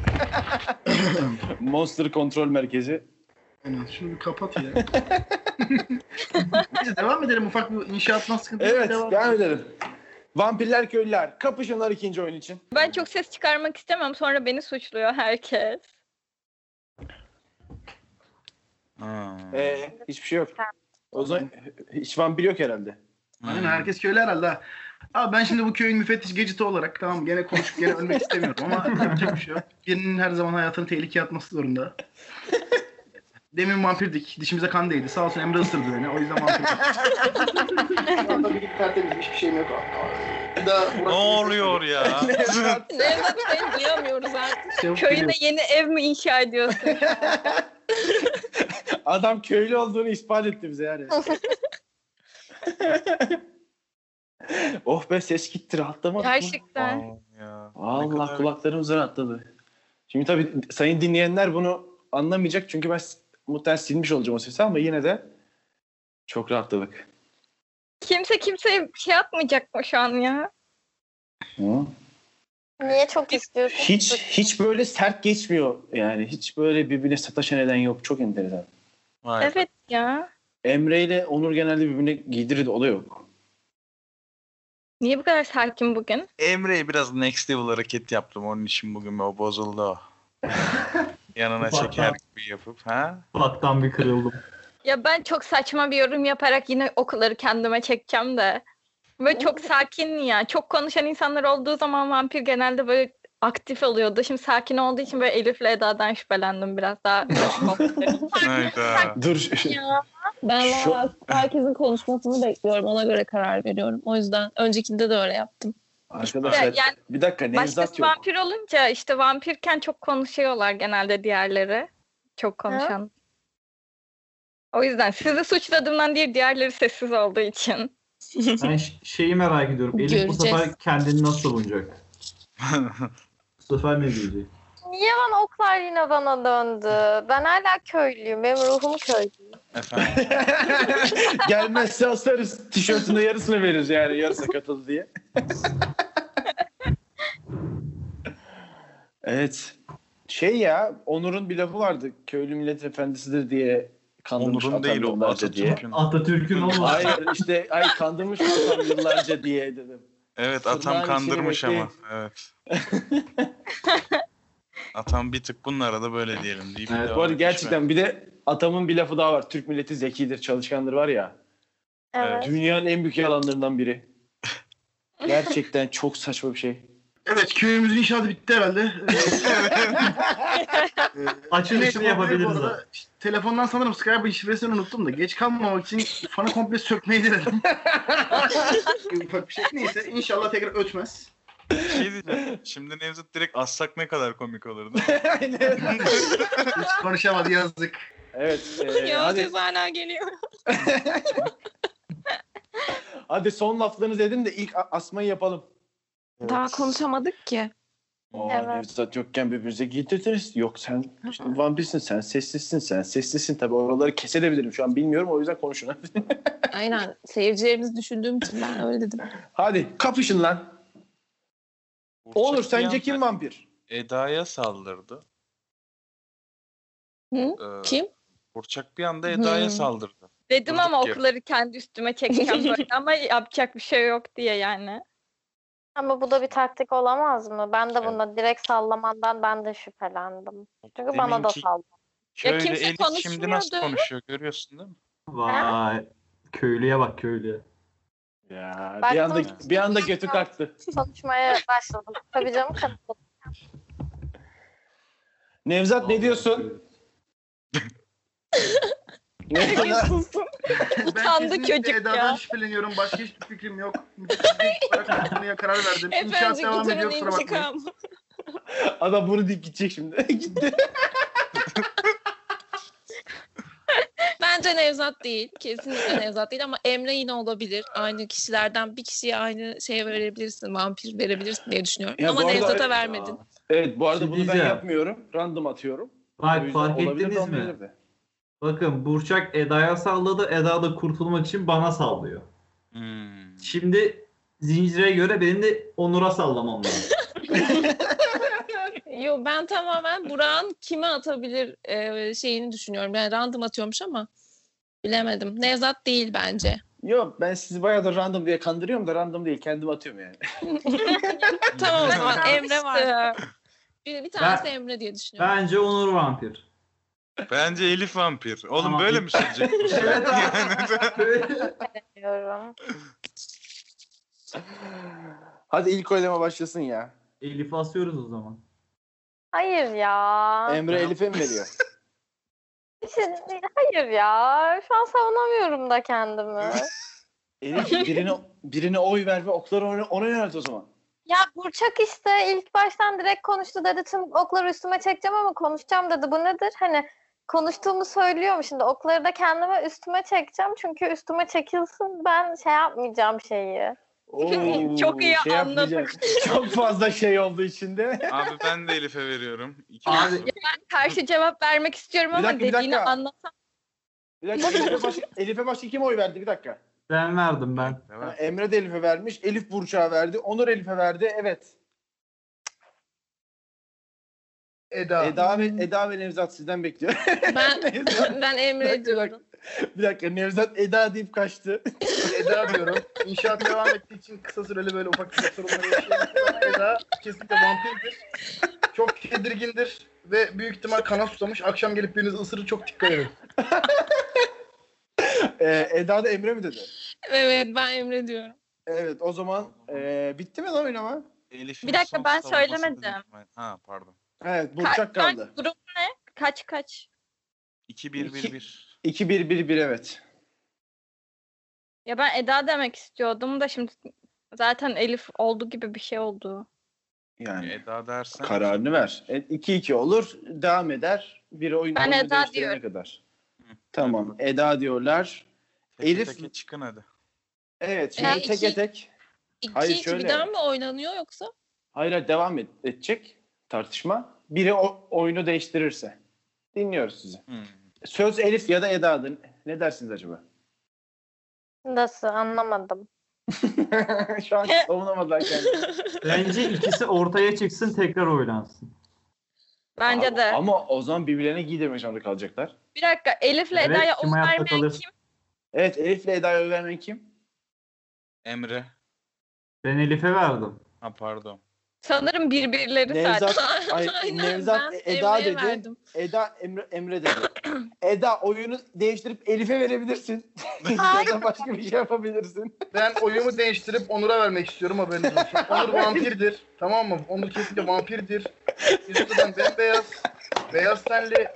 [SPEAKER 1] Monster Kontrol Merkezi.
[SPEAKER 6] Aynen şunu bir kapat ya. Neyse devam edelim ufak bir inşaattan sıkıntı. yok,
[SPEAKER 1] Evet
[SPEAKER 6] devam
[SPEAKER 1] devam edelim. Vampirler köylüler kapışınlar ikinci oyun için.
[SPEAKER 4] Ben çok ses çıkarmak istemem. Sonra beni suçluyor herkes.
[SPEAKER 7] Ha.
[SPEAKER 1] Ee, hiçbir şey yok. O zaman hiç vampir yok herhalde.
[SPEAKER 7] Hmm.
[SPEAKER 6] Aynen herkes köylü herhalde. ha. Abi ben şimdi bu köyün müfettiş geciti olarak tamam gene konuşup gene ölmek istemiyorum ama yapacak bir şey yok. Birinin her zaman hayatını tehlikeye atması zorunda. Demin vampirdik. Dişimize kan değdi. Sağ olsun Emre ısırdı beni. O yüzden vampirdik. Şu anda bir tertemiz hiçbir şeyim yok.
[SPEAKER 7] Ne oluyor ya?
[SPEAKER 1] Nevzat,
[SPEAKER 5] Nevzat seni duyamıyoruz artık.
[SPEAKER 4] Köyüne yeni ev mi inşa ediyorsun?
[SPEAKER 1] adam köylü olduğunu ispat etti bize yani. oh be ses gitti rahatlamadık mı?
[SPEAKER 4] Gerçekten.
[SPEAKER 7] Aa, ya. Ne
[SPEAKER 1] Allah
[SPEAKER 7] kadar-
[SPEAKER 1] kulaklarımız rahatladı. Şimdi tabii sayın dinleyenler bunu anlamayacak çünkü ben s- muhtemelen silmiş olacağım o sesi ama yine de çok rahatladık.
[SPEAKER 4] Kimse kimseye şey yapmayacak mı şu an ya?
[SPEAKER 1] Hı?
[SPEAKER 8] Niye çok istiyorsun?
[SPEAKER 1] Hiç hiç böyle sert geçmiyor yani. Hiç böyle birbirine sataşan eden yok. Çok enteresan.
[SPEAKER 7] Vay be.
[SPEAKER 4] Evet ya.
[SPEAKER 1] Emre ile Onur genelde birbirine giydirirdi. O da yok.
[SPEAKER 4] Niye bu kadar sakin bugün?
[SPEAKER 7] Emre'ye biraz next level hareket yaptım. Onun için bugün o bozuldu o. Yanına
[SPEAKER 3] Ufaktan.
[SPEAKER 7] çeker gibi yapıp ha.
[SPEAKER 3] Kulaktan bir kırıldım.
[SPEAKER 4] Ya ben çok saçma bir yorum yaparak yine okulları kendime çekeceğim de. Böyle çok sakin ya. Çok konuşan insanlar olduğu zaman vampir genelde böyle aktif oluyordu. Şimdi sakin olduğu için böyle Elif'le Eda'dan şüphelendim biraz daha.
[SPEAKER 7] Hayda.
[SPEAKER 1] Dur.
[SPEAKER 5] Ya ben
[SPEAKER 1] Şu-
[SPEAKER 5] valla herkesin konuşmasını bekliyorum. Ona göre karar veriyorum. O yüzden öncekinde de öyle yaptım.
[SPEAKER 1] Arkadaşlar
[SPEAKER 4] Yani
[SPEAKER 1] bir dakika Nevzat
[SPEAKER 4] Başkası
[SPEAKER 1] yok.
[SPEAKER 4] vampir olunca işte vampirken çok konuşuyorlar genelde diğerleri. Çok konuşan. O yüzden sizi suçladığımdan değil diğerleri sessiz olduğu için.
[SPEAKER 3] Ben ş- şeyi merak ediyorum. Elif bu
[SPEAKER 5] Göreceğiz.
[SPEAKER 3] sefer kendini nasıl bulacak? Bu sefer ne diyecek?
[SPEAKER 8] Niye bana oklar yine bana döndü? Ben hala köylüyüm. Benim ruhum köylü.
[SPEAKER 7] Efendim.
[SPEAKER 1] Gelmezse asarız. Tişörtünde yarısını veririz yani yarısı katıldı diye. evet. Şey ya Onur'un bir lafı vardı. Köylü millet efendisidir diye kandırmış
[SPEAKER 7] Onur'un değil o
[SPEAKER 1] Atamyıllarca diye.
[SPEAKER 7] Atatürk'ün.
[SPEAKER 3] Atatürk'ün olmaz.
[SPEAKER 1] Hayır işte ay kandırmış yıllarca diye dedim.
[SPEAKER 7] Evet
[SPEAKER 1] Tırnağın
[SPEAKER 7] atam
[SPEAKER 1] içini
[SPEAKER 7] kandırmış ama.
[SPEAKER 1] bekleyin.
[SPEAKER 7] Evet. atam bir tık bunlara da böyle diyelim deyip
[SPEAKER 3] Evet,
[SPEAKER 1] Bu
[SPEAKER 7] devam
[SPEAKER 1] arada
[SPEAKER 7] etmiş ve-
[SPEAKER 1] gerçekten bir de atamın bir lafı daha var. Türk milleti zekidir, çalışkandır var ya.
[SPEAKER 8] Evet.
[SPEAKER 1] Dünyanın en büyük yalanlarından biri. Gerçekten çok saçma bir şey.
[SPEAKER 6] Evet köyümüzün inşaatı bitti herhalde. Ee,
[SPEAKER 1] Şey,
[SPEAKER 3] Açılışını
[SPEAKER 6] neyse,
[SPEAKER 3] yapabiliriz
[SPEAKER 6] bu arada
[SPEAKER 3] abi.
[SPEAKER 6] işte telefondan sanırım Skype'ın şifresini unuttum da geç kalmamak için fanı komple sökmeyi denedim. Ufak bir şey. Neyse inşallah tekrar ötmez.
[SPEAKER 7] Şey diyeceğim. Şimdi Nevzat direkt assak ne kadar komik olurdu.
[SPEAKER 6] Hiç konuşamadı yazık.
[SPEAKER 1] evet. e,
[SPEAKER 5] ya
[SPEAKER 1] hadi,
[SPEAKER 5] ses hala geliyor.
[SPEAKER 1] hadi son laflarınızı edin de ilk a- asmayı yapalım.
[SPEAKER 5] Daha konuşamadık ki.
[SPEAKER 1] Aa,
[SPEAKER 8] Evet.
[SPEAKER 1] Nevzat yokken birbirimize giydirtiriz. Yok sen işte vampirsin, sen sessizsin, sen sessizsin. Tabii oraları kesebilirim şu an bilmiyorum o yüzden konuşun.
[SPEAKER 5] Aynen. Seyircilerimiz düşündüğüm için ben öyle dedim.
[SPEAKER 1] hadi kapışın lan. Onur
[SPEAKER 7] Burçak bir
[SPEAKER 1] sence
[SPEAKER 7] anda
[SPEAKER 1] kim vampir?
[SPEAKER 7] Eda'ya saldırdı.
[SPEAKER 5] Hı?
[SPEAKER 7] Ee,
[SPEAKER 5] Kim?
[SPEAKER 7] Burçak bir anda Eda'ya
[SPEAKER 5] Hı.
[SPEAKER 7] saldırdı.
[SPEAKER 4] Dedim
[SPEAKER 7] Durduk
[SPEAKER 4] ama
[SPEAKER 7] yere.
[SPEAKER 4] okları kendi üstüme çekeceğim böyle ama yapacak bir şey yok diye yani.
[SPEAKER 8] Ama bu da bir taktik olamaz mı? Ben de buna direkt sallamandan ben de şüphelendim. Çünkü bana da
[SPEAKER 7] Deminki
[SPEAKER 8] salladı.
[SPEAKER 7] köylü
[SPEAKER 5] kimse
[SPEAKER 7] Elif şimdi nasıl
[SPEAKER 5] konuşmuyordu.
[SPEAKER 7] konuşuyor görüyorsun değil mi?
[SPEAKER 3] Vay. Köylüye bak köylüye.
[SPEAKER 1] Ya bir
[SPEAKER 8] Baktım-
[SPEAKER 1] anda bir anda götü kalktı.
[SPEAKER 8] Konuşmaya başladım. Tabii canım katıldım.
[SPEAKER 1] Nevzat ne diyorsun? Nevzat-
[SPEAKER 5] Susun.
[SPEAKER 6] ben
[SPEAKER 4] Utandı
[SPEAKER 6] kesinlikle
[SPEAKER 4] çocuk
[SPEAKER 6] Eda'dan
[SPEAKER 4] ya.
[SPEAKER 6] şüpheleniyorum. Başka hiçbir fikrim yok. Müthiş olarak konuya karar verdim. İnşaat
[SPEAKER 5] Efendim
[SPEAKER 6] devam ediyor
[SPEAKER 5] gitarın
[SPEAKER 6] kusura bakmayın.
[SPEAKER 5] intikamı.
[SPEAKER 1] Adam bunu deyip gidecek şimdi. Gitti.
[SPEAKER 5] Bence Nevzat değil. Kesinlikle Nevzat değil ama Emre yine olabilir. Aynı kişilerden bir kişiye aynı şeye verebilirsin. Vampir verebilirsin diye düşünüyorum.
[SPEAKER 1] Ya bu
[SPEAKER 5] ama
[SPEAKER 1] arada-
[SPEAKER 5] Nevzat'a vermedin.
[SPEAKER 1] Evet bu arada
[SPEAKER 3] Şey
[SPEAKER 1] bunu ben
[SPEAKER 3] diyeceğim.
[SPEAKER 1] yapmıyorum. Random atıyorum. O
[SPEAKER 3] Bak
[SPEAKER 1] yüzden
[SPEAKER 3] fark
[SPEAKER 1] olabilir de
[SPEAKER 3] ettiniz mi?
[SPEAKER 1] olmayabilir de.
[SPEAKER 3] Bakın Burçak Eda'ya salladı. Eda da kurtulmak için bana sallıyor.
[SPEAKER 7] Hmm.
[SPEAKER 3] Şimdi zincire göre benim de Onur'a sallamam lazım.
[SPEAKER 5] Yo ben tamamen Burak'ın kime atabilir e, şeyini düşünüyorum. Yani random atıyormuş ama bilemedim. Nevzat değil bence.
[SPEAKER 1] Yok ben sizi bayağı da random diye kandırıyorum da random değil kendim atıyorum yani.
[SPEAKER 5] tamam o zaman Emre var.
[SPEAKER 4] İşte.
[SPEAKER 5] Bir, bir tanesi Emre diye düşünüyorum.
[SPEAKER 3] Bence Onur vampir.
[SPEAKER 7] Bence Elif vampir. Oğlum
[SPEAKER 3] Tamam,
[SPEAKER 7] böyle
[SPEAKER 3] bir-
[SPEAKER 7] mi sürecek? bu süre? Yani-
[SPEAKER 3] Evet abi.
[SPEAKER 8] diyorum.
[SPEAKER 1] Hadi ilk oylama başlasın ya.
[SPEAKER 3] Elif asıyoruz o zaman.
[SPEAKER 8] Hayır ya.
[SPEAKER 1] Emre Elif'e mi veriyor?
[SPEAKER 8] İşte- şey Hayır ya. Şu an savunamıyorum da kendimi.
[SPEAKER 1] Elif birine, birine oy ver ve okları ona, ona yönelt o zaman.
[SPEAKER 8] Ya Burçak işte ilk baştan direkt konuştu dedi tüm okları üstüme çekeceğim ama konuşacağım dedi. Bu nedir? Hani konuştuğumu söylüyorum şimdi okları da kendime üstüme çekeceğim çünkü üstüme çekilsin ben şey yapmayacağım şeyi.
[SPEAKER 1] Oo,
[SPEAKER 4] Çok iyi anladık.
[SPEAKER 1] yapmayacağım. Çok fazla şey olduğu içinde.
[SPEAKER 7] Abi ben de Elif'e veriyorum. İki
[SPEAKER 3] Abi-
[SPEAKER 7] olsun.
[SPEAKER 4] Karşı cevap vermek istiyorum
[SPEAKER 1] Bir
[SPEAKER 4] ama
[SPEAKER 1] dakika, bir
[SPEAKER 4] dediğini
[SPEAKER 1] dakika.
[SPEAKER 4] anlatsam.
[SPEAKER 1] Bir dakika Elif'e başka, Elif'e başka kim oy verdi bir dakika.
[SPEAKER 3] Ben verdim ben.
[SPEAKER 1] Ha,
[SPEAKER 7] Devam.
[SPEAKER 1] Emre de Elif'e vermiş. Elif Burçak'a verdi. Onur Elif'e verdi. Evet.
[SPEAKER 6] Eda.
[SPEAKER 1] Eda ve, Eda ve Nevzat sizden bekliyor.
[SPEAKER 5] Ben,
[SPEAKER 1] Nevzat.
[SPEAKER 5] ben Emre diyorum.
[SPEAKER 1] Bir dakika Nevzat Eda deyip kaçtı.
[SPEAKER 6] Eda diyorum. İnşaat devam ettiği için kısa süreli böyle ufak tefek sorunları yaşıyorum. Ama Eda kesinlikle vampirdir. Çok tedirgindir ve büyük ihtimal kana susamış. Akşam gelip birinizi ısırır çok dikkat edin.
[SPEAKER 1] Ee, Eda da Emre mi dedi?
[SPEAKER 5] Evet ben Emre diyorum.
[SPEAKER 1] Evet o zaman ee, bitti mi lan oynama?
[SPEAKER 7] Elif'in
[SPEAKER 4] Bir dakika,
[SPEAKER 7] son
[SPEAKER 4] ben
[SPEAKER 7] savunması
[SPEAKER 4] söylemedim.
[SPEAKER 7] dedim. Ha pardon.
[SPEAKER 1] Evet
[SPEAKER 4] Ka-
[SPEAKER 1] Burçak kaldı.
[SPEAKER 4] Kaç, grup ne? Kaç kaç?
[SPEAKER 7] 2-1-1-1.
[SPEAKER 1] 2-1-1-1 evet.
[SPEAKER 4] Ya ben Eda demek istiyordum da şimdi zaten Elif oldu gibi bir şey oldu.
[SPEAKER 1] Yani
[SPEAKER 7] Eda dersen.
[SPEAKER 1] kararını ver. E, 2-2 olur. Devam eder. Bir oyun
[SPEAKER 4] Ben
[SPEAKER 1] oyunu
[SPEAKER 4] Eda
[SPEAKER 1] değiştirene
[SPEAKER 4] diyorum.
[SPEAKER 1] kadar.
[SPEAKER 7] Hı.
[SPEAKER 1] Tamam. Eda diyorlar.
[SPEAKER 7] Teke
[SPEAKER 1] Elif-
[SPEAKER 7] teke çıkın hadi.
[SPEAKER 1] Evet şimdi
[SPEAKER 5] E,
[SPEAKER 1] teke
[SPEAKER 5] iki-
[SPEAKER 1] tek.
[SPEAKER 5] İki
[SPEAKER 1] Hayır,
[SPEAKER 5] iki
[SPEAKER 1] şöyle.
[SPEAKER 5] birden mi oynanıyor yoksa?
[SPEAKER 1] Hayır hayır, devam et- edecek tartışma. Biri o, oyunu değiştirirse. Dinliyoruz sizi.
[SPEAKER 7] Hmm.
[SPEAKER 1] Söz Elif ya da Eda'dır. Ne dersiniz acaba?
[SPEAKER 8] Nasıl anlamadım.
[SPEAKER 1] Şu an savunamadılar kendini.
[SPEAKER 3] Bence ikisi ortaya çıksın tekrar oynansın.
[SPEAKER 4] Bence
[SPEAKER 1] Ama-
[SPEAKER 4] de.
[SPEAKER 1] Ama o zaman birbirlerine giydirme zorunda kalacaklar.
[SPEAKER 4] Bir dakika Elif'le
[SPEAKER 3] Evet,
[SPEAKER 4] Eda'ya
[SPEAKER 3] kim
[SPEAKER 4] oy
[SPEAKER 3] hayatta
[SPEAKER 4] vermeyen
[SPEAKER 3] kalır?
[SPEAKER 4] kim?
[SPEAKER 1] Evet Elif'le Eda'ya oy vermeyen kim?
[SPEAKER 7] Emre.
[SPEAKER 3] Ben Elif'e verdim.
[SPEAKER 7] Ha pardon.
[SPEAKER 4] Sanırım birbirleri
[SPEAKER 1] Nevzat-
[SPEAKER 4] zaten.
[SPEAKER 1] Ay,
[SPEAKER 5] Aynen,
[SPEAKER 1] Nevzat
[SPEAKER 5] ben
[SPEAKER 1] Eda
[SPEAKER 5] Emre'ye
[SPEAKER 1] dedi.
[SPEAKER 5] verdim.
[SPEAKER 1] Eda Emre, Emre dedi. Eda oyunu değiştirip Elif'e verebilirsin. ya da başka bir şey yapabilirsin.
[SPEAKER 6] Ben oyumu değiştirip Onur'a vermek istiyorum haberiniz olsun. Onur vampirdir. Tamam mı? Onur kesinlikle vampirdir. Yüzünden bembeyaz. Beyaz tenli.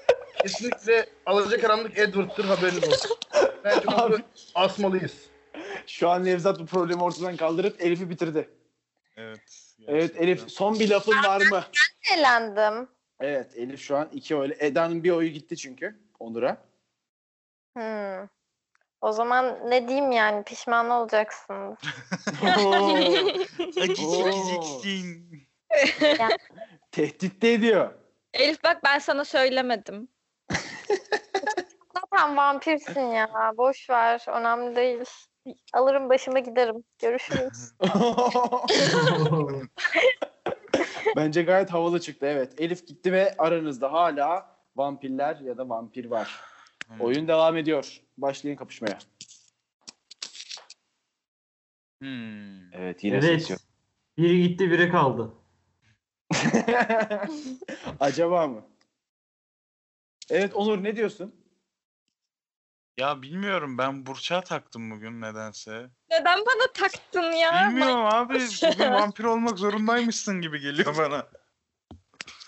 [SPEAKER 6] Kesinlikle alacakaranlık Edward'dır haberiniz olsun. Bence Onur'u
[SPEAKER 1] Abi.
[SPEAKER 6] asmalıyız.
[SPEAKER 1] Şu an Nevzat bu problemi ortadan kaldırıp Elif'i bitirdi.
[SPEAKER 7] Evet.
[SPEAKER 1] Evet
[SPEAKER 7] gerçekten.
[SPEAKER 1] Elif son bir lafın var mı?
[SPEAKER 8] Eğlendim.
[SPEAKER 1] Evet Elif şu an iki oyla. Eda'nın bir oyu gitti çünkü Onur'a.
[SPEAKER 8] Hmm. O zaman ne diyeyim yani pişman olacaksınız.
[SPEAKER 1] Tehdit de ediyor.
[SPEAKER 4] Elif bak ben sana söylemedim.
[SPEAKER 8] Zaten vampirsin ya. Boş ver. Önemli değil. Alırım başıma giderim. Görüşürüz.
[SPEAKER 1] Bence gayet havalı çıktı evet. Elif gitti ve aranızda hala vampirler ya da vampir var. Oyun devam ediyor. Başlayın kapışmaya.
[SPEAKER 7] Hmm.
[SPEAKER 1] Evet yine
[SPEAKER 3] evet. Biri gitti biri kaldı.
[SPEAKER 1] Acaba mı? Evet Onur ne diyorsun?
[SPEAKER 7] Ya bilmiyorum ben Burç'a taktım bugün nedense.
[SPEAKER 4] Neden bana taktın ya?
[SPEAKER 7] Bilmiyorum abi bugün vampir olmak zorundaymışsın gibi geliyor bana.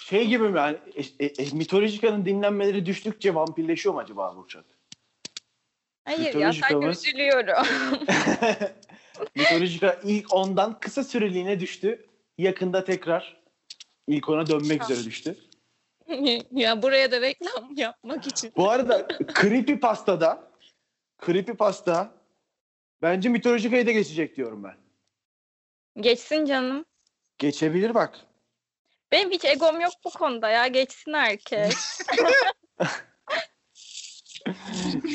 [SPEAKER 1] Şey gibi mi yani e, e, e, mitolojikanın dinlenmeleri düştükçe vampirleşiyor mu acaba Burçak?
[SPEAKER 4] Hayır ya
[SPEAKER 1] Mitolojik
[SPEAKER 4] sadece
[SPEAKER 1] havas.
[SPEAKER 4] üzülüyorum.
[SPEAKER 1] Mitolojika ilk ondan kısa süreliğine düştü. Yakında tekrar ilk ona dönmek üzere düştü.
[SPEAKER 5] ya buraya da reklam yapmak için.
[SPEAKER 1] Bu arada Creepypasta'da Creepypasta bence mitolojikayı da geçecek diyorum ben.
[SPEAKER 4] Geçsin canım.
[SPEAKER 1] Geçebilir bak.
[SPEAKER 4] Benim hiç egom yok bu konuda ya. Geçsin herkes.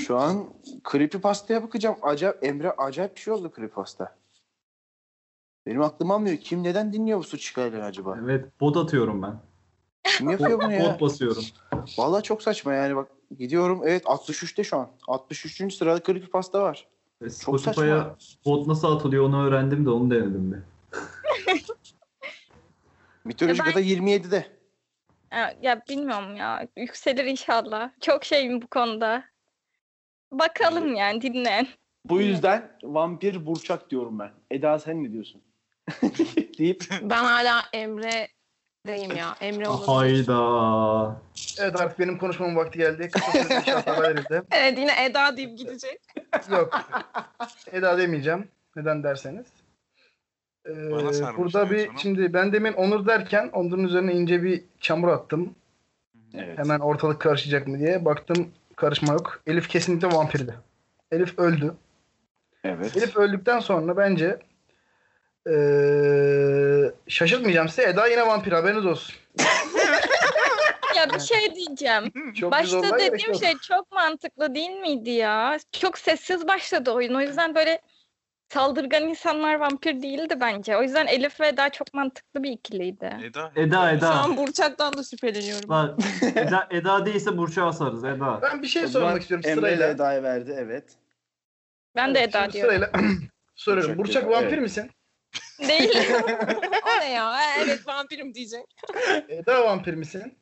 [SPEAKER 1] Şu an Creepypasta'ya bakacağım. Acayip, Emre acayip bir şey oldu Creepypasta. Benim aklım almıyor. Kim neden dinliyor bu su çıkarları acaba?
[SPEAKER 3] Evet bot atıyorum ben.
[SPEAKER 1] Kim yapıyor bunu
[SPEAKER 3] Bot,
[SPEAKER 1] ya?
[SPEAKER 3] bot basıyorum.
[SPEAKER 1] Vallahi çok saçma yani bak. Gidiyorum evet 63'te şu an. 63. sırada Creepypasta var.
[SPEAKER 3] Ve
[SPEAKER 1] Çok saçma.
[SPEAKER 3] Spotify'a bot nasıl atılıyor onu öğrendim de onu denedim bir.
[SPEAKER 1] Mitolojika'da 27'de.
[SPEAKER 4] ya, ya bilmiyorum ya. Yükselir inşallah. Çok şeyim bu konuda. Bakalım yani dinlen.
[SPEAKER 1] Bu yüzden vampir burçak diyorum ben. Eda sen ne diyorsun? deyip
[SPEAKER 5] Ben hala Emre'deyim ya. Emre olabilir.
[SPEAKER 3] Hayda.
[SPEAKER 6] Evet artık benim konuşmamın vakti geldi. Kısa sürede inşaat haber vereceğim.
[SPEAKER 5] Evet yine Eda deyip gidecek.
[SPEAKER 6] Yok. Eda demeyeceğim. Neden derseniz. Ee,
[SPEAKER 7] Bana sarmış
[SPEAKER 6] burada bir
[SPEAKER 7] diyorsun, ha?
[SPEAKER 6] şimdi ben demin Onur derken Onur'un üzerine ince bir çamur attım.
[SPEAKER 1] evet.
[SPEAKER 6] Hemen ortalık karışacak mı diye. Baktım karışma yok. Elif kesinlikle vampirdi. Elif öldü.
[SPEAKER 1] evet.
[SPEAKER 6] Elif öldükten sonra bence ee, şaşırtmayacağım size. Eda yine vampir haberiniz olsun.
[SPEAKER 4] Ya bir şey diyeceğim.
[SPEAKER 6] Çok
[SPEAKER 4] Başta
[SPEAKER 6] olmaya gerek
[SPEAKER 4] dediğim
[SPEAKER 6] yok.
[SPEAKER 4] şey çok mantıklı değil miydi ya? Çok sessiz başladı oyun. O yüzden böyle Saldırgan insanlar vampir değildi bence. O yüzden Elif ve Eda çok mantıklı bir ikiliydi.
[SPEAKER 7] Eda.
[SPEAKER 3] Eda
[SPEAKER 5] Şu
[SPEAKER 3] Eda.
[SPEAKER 5] an Burçak'tan da şüpheleniyorum.
[SPEAKER 3] Lan, Eda, Eda değilse Burç'a asarız Eda.
[SPEAKER 6] Ben bir şey
[SPEAKER 1] O zaman
[SPEAKER 6] sormak istiyorum
[SPEAKER 1] Emre ile
[SPEAKER 6] sırayla.
[SPEAKER 1] Eda'ya verdi evet.
[SPEAKER 4] Ben de Eda
[SPEAKER 6] Şimdi
[SPEAKER 4] diyorum.
[SPEAKER 6] Sırayla soruyorum.
[SPEAKER 1] Burçak
[SPEAKER 6] Burçak
[SPEAKER 1] dedi,
[SPEAKER 6] vampir
[SPEAKER 1] evet.
[SPEAKER 6] misin?
[SPEAKER 4] Değil.
[SPEAKER 5] o ne ya? Ha, Evet vampirim diyecek.
[SPEAKER 6] Eda vampir misin?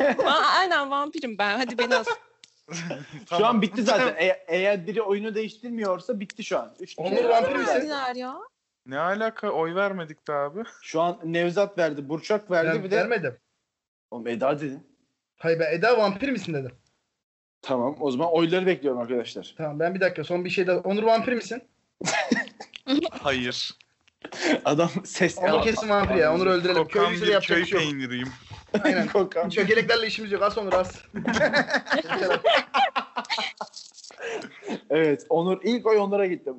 [SPEAKER 5] Va- Aynen vampirim ben. Hadi beni as.
[SPEAKER 1] Şu an bitti zaten. E- eğer biri oyunu değiştirmiyorsa bitti şu an. Üç
[SPEAKER 6] Onur
[SPEAKER 1] kişi-
[SPEAKER 6] vampir misin?
[SPEAKER 5] Verdiler ya.
[SPEAKER 7] Ne alaka oy vermedik de abi.
[SPEAKER 1] Şu an Nevzat verdi, Burçak verdi
[SPEAKER 6] Ben
[SPEAKER 1] bir de.
[SPEAKER 6] vermedim.
[SPEAKER 1] Oğlum Eda dedin.
[SPEAKER 6] Hayır ben Eda vampir misin dedim.
[SPEAKER 1] Tamam o zaman oyları bekliyorum arkadaşlar.
[SPEAKER 6] Tamam ben bir dakika son bir şey daha. Onur vampir misin?
[SPEAKER 7] Hayır.
[SPEAKER 1] Adam ses
[SPEAKER 6] Onur kesin vampir ya. Onur öldürelim. Köy
[SPEAKER 7] Kokan
[SPEAKER 6] yüzüyle
[SPEAKER 7] bir
[SPEAKER 6] yapacak
[SPEAKER 7] köy
[SPEAKER 6] bir şey yok.
[SPEAKER 7] peyniriyim.
[SPEAKER 6] Aynen.
[SPEAKER 1] Kokan.
[SPEAKER 6] Çökeleklerle işimiz yok. Az Onur az.
[SPEAKER 1] Evet Onur ilk oy Onur'a gitti.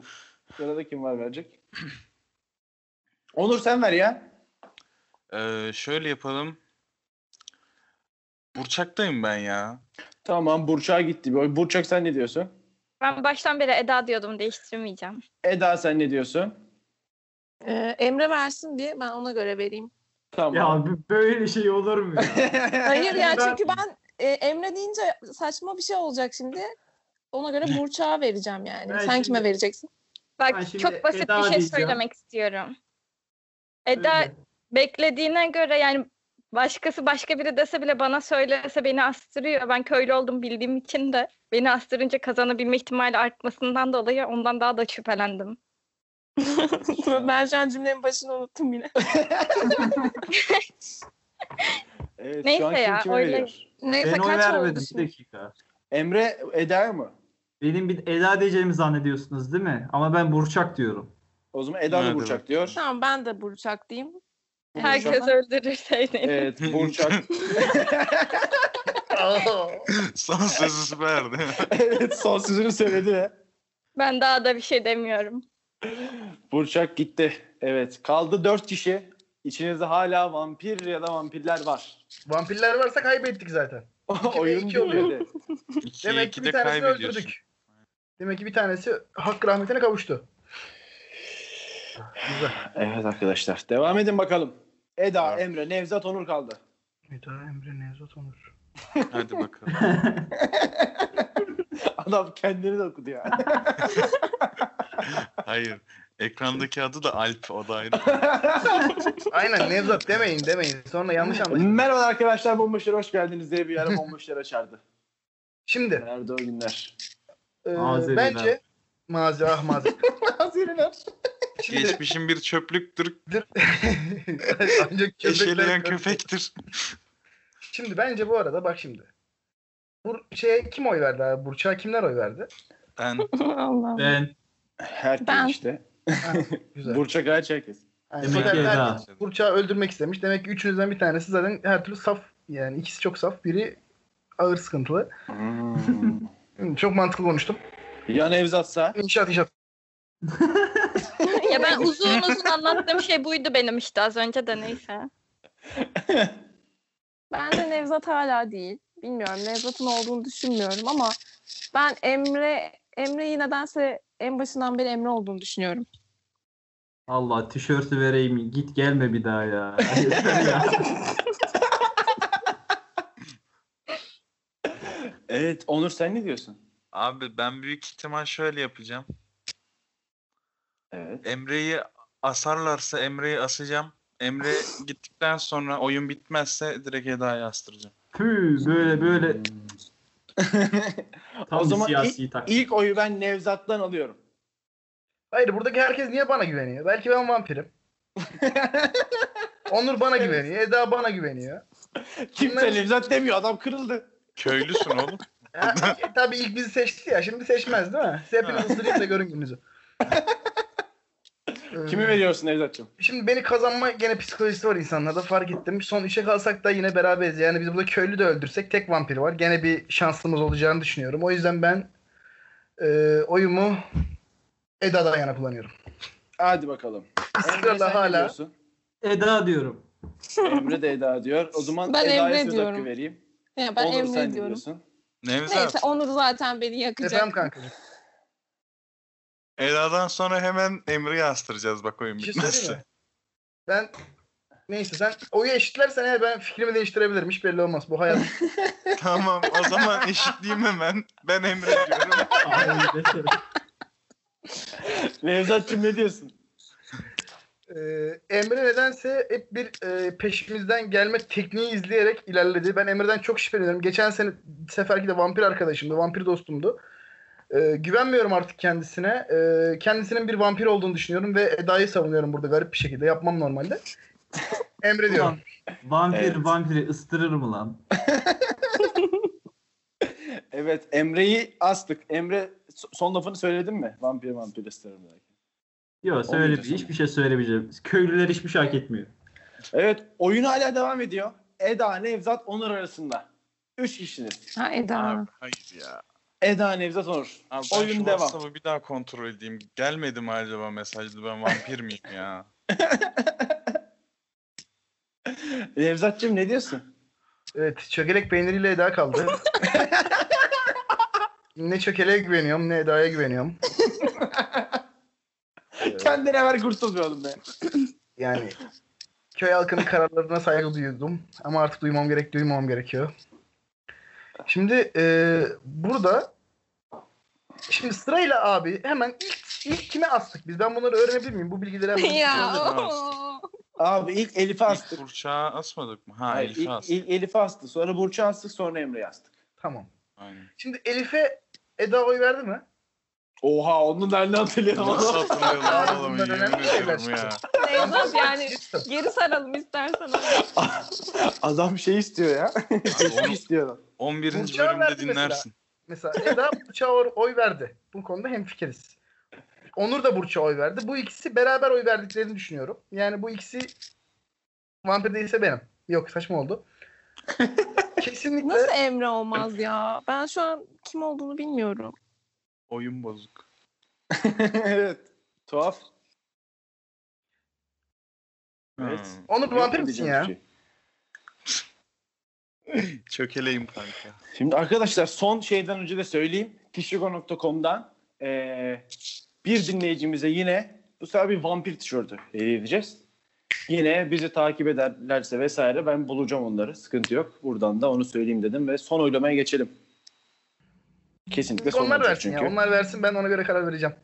[SPEAKER 1] Sırada kim var verecek? Onur sen ver ya.
[SPEAKER 7] Ee, şöyle yapalım. Burçak'tayım ben ya.
[SPEAKER 1] Tamam Burçak'a gitti. bir oy. Burçak sen ne diyorsun?
[SPEAKER 4] Ben baştan beri Eda diyordum değiştirmeyeceğim.
[SPEAKER 1] Eda sen ne diyorsun?
[SPEAKER 5] Ee, Emre versin diye ben ona göre vereyim.
[SPEAKER 1] Tamam.
[SPEAKER 3] Ya b- böyle şey olur mu ya?
[SPEAKER 5] Hayır ya
[SPEAKER 3] Ben-
[SPEAKER 5] çünkü ben e, Emre deyince saçma bir şey olacak şimdi. Ona göre Burçak'a vereceğim yani.
[SPEAKER 3] Ben
[SPEAKER 5] Sen
[SPEAKER 3] şimdi-
[SPEAKER 5] kime vereceksin?
[SPEAKER 4] Bak
[SPEAKER 3] Ben şimdi
[SPEAKER 4] çok basit
[SPEAKER 3] Eda
[SPEAKER 4] bir şey
[SPEAKER 3] diyeceğim.
[SPEAKER 4] söylemek istiyorum. Eda
[SPEAKER 3] Öyle.
[SPEAKER 4] beklediğine göre yani başkası başka biri dese bile bana söylese beni astırıyor. Ben köylü oldum bildiğim için de beni astırınca kazanabilme ihtimali artmasından dolayı ondan daha da şüphelendim.
[SPEAKER 5] ben şu an cümlenin başını unuttum yine.
[SPEAKER 1] Evet, şu
[SPEAKER 4] Neyse
[SPEAKER 1] an kim
[SPEAKER 4] ya,
[SPEAKER 1] kime
[SPEAKER 4] oyları-
[SPEAKER 1] veriyor?
[SPEAKER 5] Neyse
[SPEAKER 3] Ben oy
[SPEAKER 5] kaç
[SPEAKER 3] vermedim
[SPEAKER 5] oldu
[SPEAKER 3] bir
[SPEAKER 5] şimdi?
[SPEAKER 3] dakika.
[SPEAKER 1] Emre Eda'ya mı?
[SPEAKER 3] Benim bir Eda diyeceğimi zannediyorsunuz değil mi? Ama ben Burçak diyorum.
[SPEAKER 1] O zaman Eda da
[SPEAKER 7] Nerede
[SPEAKER 1] Burçak
[SPEAKER 7] bak?
[SPEAKER 1] diyor.
[SPEAKER 5] Tamam ben de Burçak diyeyim.
[SPEAKER 4] Herkes öldürür seni.
[SPEAKER 1] Evet Burçak.
[SPEAKER 7] Son sözü verdi.
[SPEAKER 1] evet son sözünü söyledi ve
[SPEAKER 4] Ben daha da bir şey demiyorum.
[SPEAKER 1] Burçak gitti. Evet kaldı dört kişi. İçinizde hala vampir ya da vampirler var.
[SPEAKER 6] Vampirler varsa kaybettik zaten. İki ve
[SPEAKER 1] Oyun
[SPEAKER 6] iki oluyor.
[SPEAKER 1] bitmedi.
[SPEAKER 6] Demek ki bir
[SPEAKER 7] 2'de
[SPEAKER 6] tanesini
[SPEAKER 7] kaybediyorsun.
[SPEAKER 6] öldürdük. Demek ki bir tanesi hak rahmetine kavuştu. Güzel.
[SPEAKER 1] Evet arkadaşlar devam edin bakalım. Eda,
[SPEAKER 7] Evet.
[SPEAKER 1] Emre, Nevzat, Onur kaldı.
[SPEAKER 6] Eda, Emre, Nevzat, Onur.
[SPEAKER 7] Hadi bakalım.
[SPEAKER 1] Adam kendini de okudu ya.
[SPEAKER 7] Hayır. Ekrandaki adı da Alp. O da ayrı.
[SPEAKER 6] Aynen Nevzat demeyin demeyin. Sonra yanlış anlaşılır.
[SPEAKER 1] Merhaba arkadaşlar Bomboşlara hoş geldiniz diye bir ara Bomboşlara çağırdı.
[SPEAKER 6] Şimdi
[SPEAKER 1] Nerede o günler?
[SPEAKER 6] e,
[SPEAKER 3] Mazeriler.
[SPEAKER 6] bence mazi ah mazi.
[SPEAKER 1] Haziriler.
[SPEAKER 6] Şimdi
[SPEAKER 7] Geçmişin bir çöplüktür.
[SPEAKER 6] ancak köpekler-
[SPEAKER 7] Eşeleyen köpektir.
[SPEAKER 6] Şimdi bence bu arada bak şimdi. Bur şeye kim oy verdi abi? Burçak'a kimler oy verdi?
[SPEAKER 7] Ben
[SPEAKER 5] Allah'ım.
[SPEAKER 3] Ben
[SPEAKER 1] Herkes
[SPEAKER 5] Ben.
[SPEAKER 1] işte.
[SPEAKER 6] Güzel.
[SPEAKER 1] Burçak Ayç herkes.
[SPEAKER 6] Yani
[SPEAKER 3] Demek
[SPEAKER 6] zaten
[SPEAKER 3] ki Eda.
[SPEAKER 6] herkes Burçak'ı öldürmek istemiş. Demek ki üçünüzden bir tanesi zaten her türlü saf. Yani ikisi çok saf. Biri ağır sıkıntılı. Hı, Çok mantıklı konuştum.
[SPEAKER 1] ya Nevzat'sa?
[SPEAKER 6] İnşaat inşaat.
[SPEAKER 4] ya ben uzun uzun anlattığım şey buydu benim işte az önce de neyse.
[SPEAKER 5] Ben de Nevzat hala değil. Bilmiyorum Nevzat'ın olduğunu düşünmüyorum ama ben Emre Emre'yi nedense en başından beri Emre olduğunu düşünüyorum.
[SPEAKER 3] Allah tişörtü vereyim git gelme bir daha ya. Yeter ya.
[SPEAKER 1] Evet Onur sen ne diyorsun?
[SPEAKER 7] Abi ben büyük ihtimal şöyle yapacağım.
[SPEAKER 1] Evet.
[SPEAKER 7] Emre'yi asarlarsa Emre'yi asacağım. Emre gittikten sonra oyun bitmezse direkt Eda'yı astıracağım.
[SPEAKER 3] Tüh böyle böyle tam
[SPEAKER 1] O
[SPEAKER 3] bir
[SPEAKER 1] zaman
[SPEAKER 3] siyasi taktik.
[SPEAKER 1] İlk oyu ben Nevzat'tan alıyorum.
[SPEAKER 6] Hayır buradaki herkes niye bana güveniyor? Belki ben vampirim. Onur bana güveniyor. Eda bana güveniyor.
[SPEAKER 1] Kimse Nevzat demiyor adam kırıldı.
[SPEAKER 7] Köylüsün oğlum.
[SPEAKER 6] Ha, e, tabii ilk bizi seçti ya. Şimdi seçmez değil mi? Siz hepiniz ısırayım da görün gününüzü. Ee,
[SPEAKER 1] Kimi veriyorsun Nevzat'cığım?
[SPEAKER 6] Şimdi beni kazanma gene psikolojisi var insanlarda fark ettim. Son üçe kalsak da yine beraberiz. Yani biz burada köylü de öldürsek tek vampir var. Gene bir şansımız olacağını düşünüyorum. O yüzden ben e, oyumu Eda'dan yana kullanıyorum.
[SPEAKER 1] Hadi bakalım.
[SPEAKER 6] Israrla
[SPEAKER 1] sen ne
[SPEAKER 6] hala.
[SPEAKER 1] diyorsun?
[SPEAKER 3] Eda diyorum.
[SPEAKER 1] Emre de Eda diyor. O zaman
[SPEAKER 5] Ben
[SPEAKER 1] Eda'ya
[SPEAKER 5] Emre
[SPEAKER 1] söz
[SPEAKER 5] diyorum.
[SPEAKER 1] hakkı vereyim.
[SPEAKER 5] Ya ben
[SPEAKER 1] Onur sen
[SPEAKER 5] Emre
[SPEAKER 1] ne
[SPEAKER 5] diyorum.
[SPEAKER 1] diyorsun?
[SPEAKER 7] Nevzat.
[SPEAKER 5] Neyse Onur zaten beni yakacak.
[SPEAKER 6] Efendim kankacığım.
[SPEAKER 7] Eda'dan sonra hemen Emre'yi astıracağız bak oyun
[SPEAKER 6] Bir şey söyleyeyim
[SPEAKER 7] bitmezse.
[SPEAKER 6] mi? Ben neyse sen oyu eşitlersen eğer ben fikrimi değiştirebilirim. Hiç belli olmaz. Bu hayat
[SPEAKER 7] tamam o zaman eşitleyeyim hemen. Ben Emre diyorum.
[SPEAKER 3] Ay, deşerim.
[SPEAKER 1] Nevzat'cığım ne diyorsun?
[SPEAKER 6] Ee, Emre nedense hep bir e, peşimizden gelme tekniği izleyerek ilerledi. Ben Emre'den çok şüpheleniyorum. Geçen sene seferki de vampir arkadaşımdı, vampir dostumdu. Ee, güvenmiyorum artık kendisine. Ee, kendisinin bir vampir olduğunu düşünüyorum ve Eda'yı savunuyorum burada garip bir şekilde. Yapmam normalde. Emre diyorum.
[SPEAKER 3] Ulan, vampir
[SPEAKER 1] Evet.
[SPEAKER 3] vampiri ıstırır mı lan?
[SPEAKER 1] Evet Emre'yi astık. Emre so- son lafını söyledin mi? Vampir vampir isterim belki.
[SPEAKER 3] Yok söyle
[SPEAKER 1] Olmayacak
[SPEAKER 3] hiçbir şey söylemeyeceğim. Köylüler hiçbir şey hak etmiyor.
[SPEAKER 1] Evet oyun hala devam ediyor. Eda, Nevzat, Onur arasında. Üç kişiniz.
[SPEAKER 5] Ha Eda.
[SPEAKER 7] Abi, hayır ya.
[SPEAKER 1] Eda, Nevzat, Onur.
[SPEAKER 7] Abi ben
[SPEAKER 1] Oyun
[SPEAKER 7] şu
[SPEAKER 1] devam.
[SPEAKER 7] WhatsApp'ı bir daha kontrol edeyim. Gelmedi mi acaba mesajlı ben vampir miyim ya?
[SPEAKER 1] Nevzat'cığım ne diyorsun?
[SPEAKER 6] Evet, çökelek peyniriyle Eda kaldı. ne çökeleğe güveniyorum ne Eda'ya güveniyorum.
[SPEAKER 1] Kendine ver kurtulmayalım be.
[SPEAKER 6] Yani köy halkının kararlarına saygı duyuyordum. Ama artık duymam gerek, duymamam gerekiyor. Şimdi e, burada şimdi sırayla abi hemen ilk, ilk kime astık biz? Ben bunları öğrenebilir miyim? Bu bilgileri hemen-
[SPEAKER 5] ya.
[SPEAKER 7] Eda.
[SPEAKER 5] oo.
[SPEAKER 1] Abi ilk Elif'e
[SPEAKER 7] İlk
[SPEAKER 1] astık.
[SPEAKER 7] Burçağı asmadık mı? Ha
[SPEAKER 1] Hayır,
[SPEAKER 7] Elif'i
[SPEAKER 1] ilk,
[SPEAKER 7] astık.
[SPEAKER 1] ilk Elif'e astık. Sonra Burç'a astık. Sonra Emre'ye astık.
[SPEAKER 6] Tamam.
[SPEAKER 7] Aynen.
[SPEAKER 6] Şimdi Elif'e Eda oy verdi mi?
[SPEAKER 1] Oha onu nereden hatırlayamadım.
[SPEAKER 7] Nasıl hatırlayalım oğlum
[SPEAKER 6] Bunlar
[SPEAKER 7] yemin
[SPEAKER 6] önemli şeyler
[SPEAKER 7] ediyorum ya.
[SPEAKER 5] Nevzat yani geri saralım istersen.
[SPEAKER 1] Adam şey istiyor ya. Teşvik
[SPEAKER 7] Onu
[SPEAKER 1] istiyor. adam.
[SPEAKER 7] 11.
[SPEAKER 6] Burçağı
[SPEAKER 7] bölümde
[SPEAKER 6] verdi mesela.
[SPEAKER 7] dinlersin.
[SPEAKER 6] Mesela Eda Burç'a or- oy verdi. Bu konuda hemfikiriz. Onur da Burç'a oy verdi. Bu ikisi beraber oy verdiklerini düşünüyorum. Yani bu ikisi vampir değilse benim. Yok saçma oldu. Kesinlikle
[SPEAKER 5] Nasıl Emre olmaz ya? Ben şu an kim olduğunu bilmiyorum.
[SPEAKER 7] Oyun bozuk.
[SPEAKER 1] evet. Tuhaf. Evet.
[SPEAKER 7] Evet.
[SPEAKER 6] Onur
[SPEAKER 1] Yok
[SPEAKER 6] vampir misin
[SPEAKER 1] diyeceğim
[SPEAKER 6] ya?
[SPEAKER 1] bir şey.
[SPEAKER 7] Çökeleyim kanka.
[SPEAKER 1] Şimdi arkadaşlar son şeyden önce de söyleyeyim. Kişigo.com'dan eee, e, bir dinleyicimize yine bu sefer bir vampir tişörtü hediye edeceğiz. Yine bizi takip ederlerse vesaire ben bulacağım onları. Sıkıntı yok. Buradan da onu söyleyeyim dedim ve son oylamaya geçelim. Kesinlikle son
[SPEAKER 6] Onlar
[SPEAKER 1] olacak
[SPEAKER 6] versin
[SPEAKER 1] çünkü.
[SPEAKER 6] ya. Onlar versin ben ona göre karar vereceğim.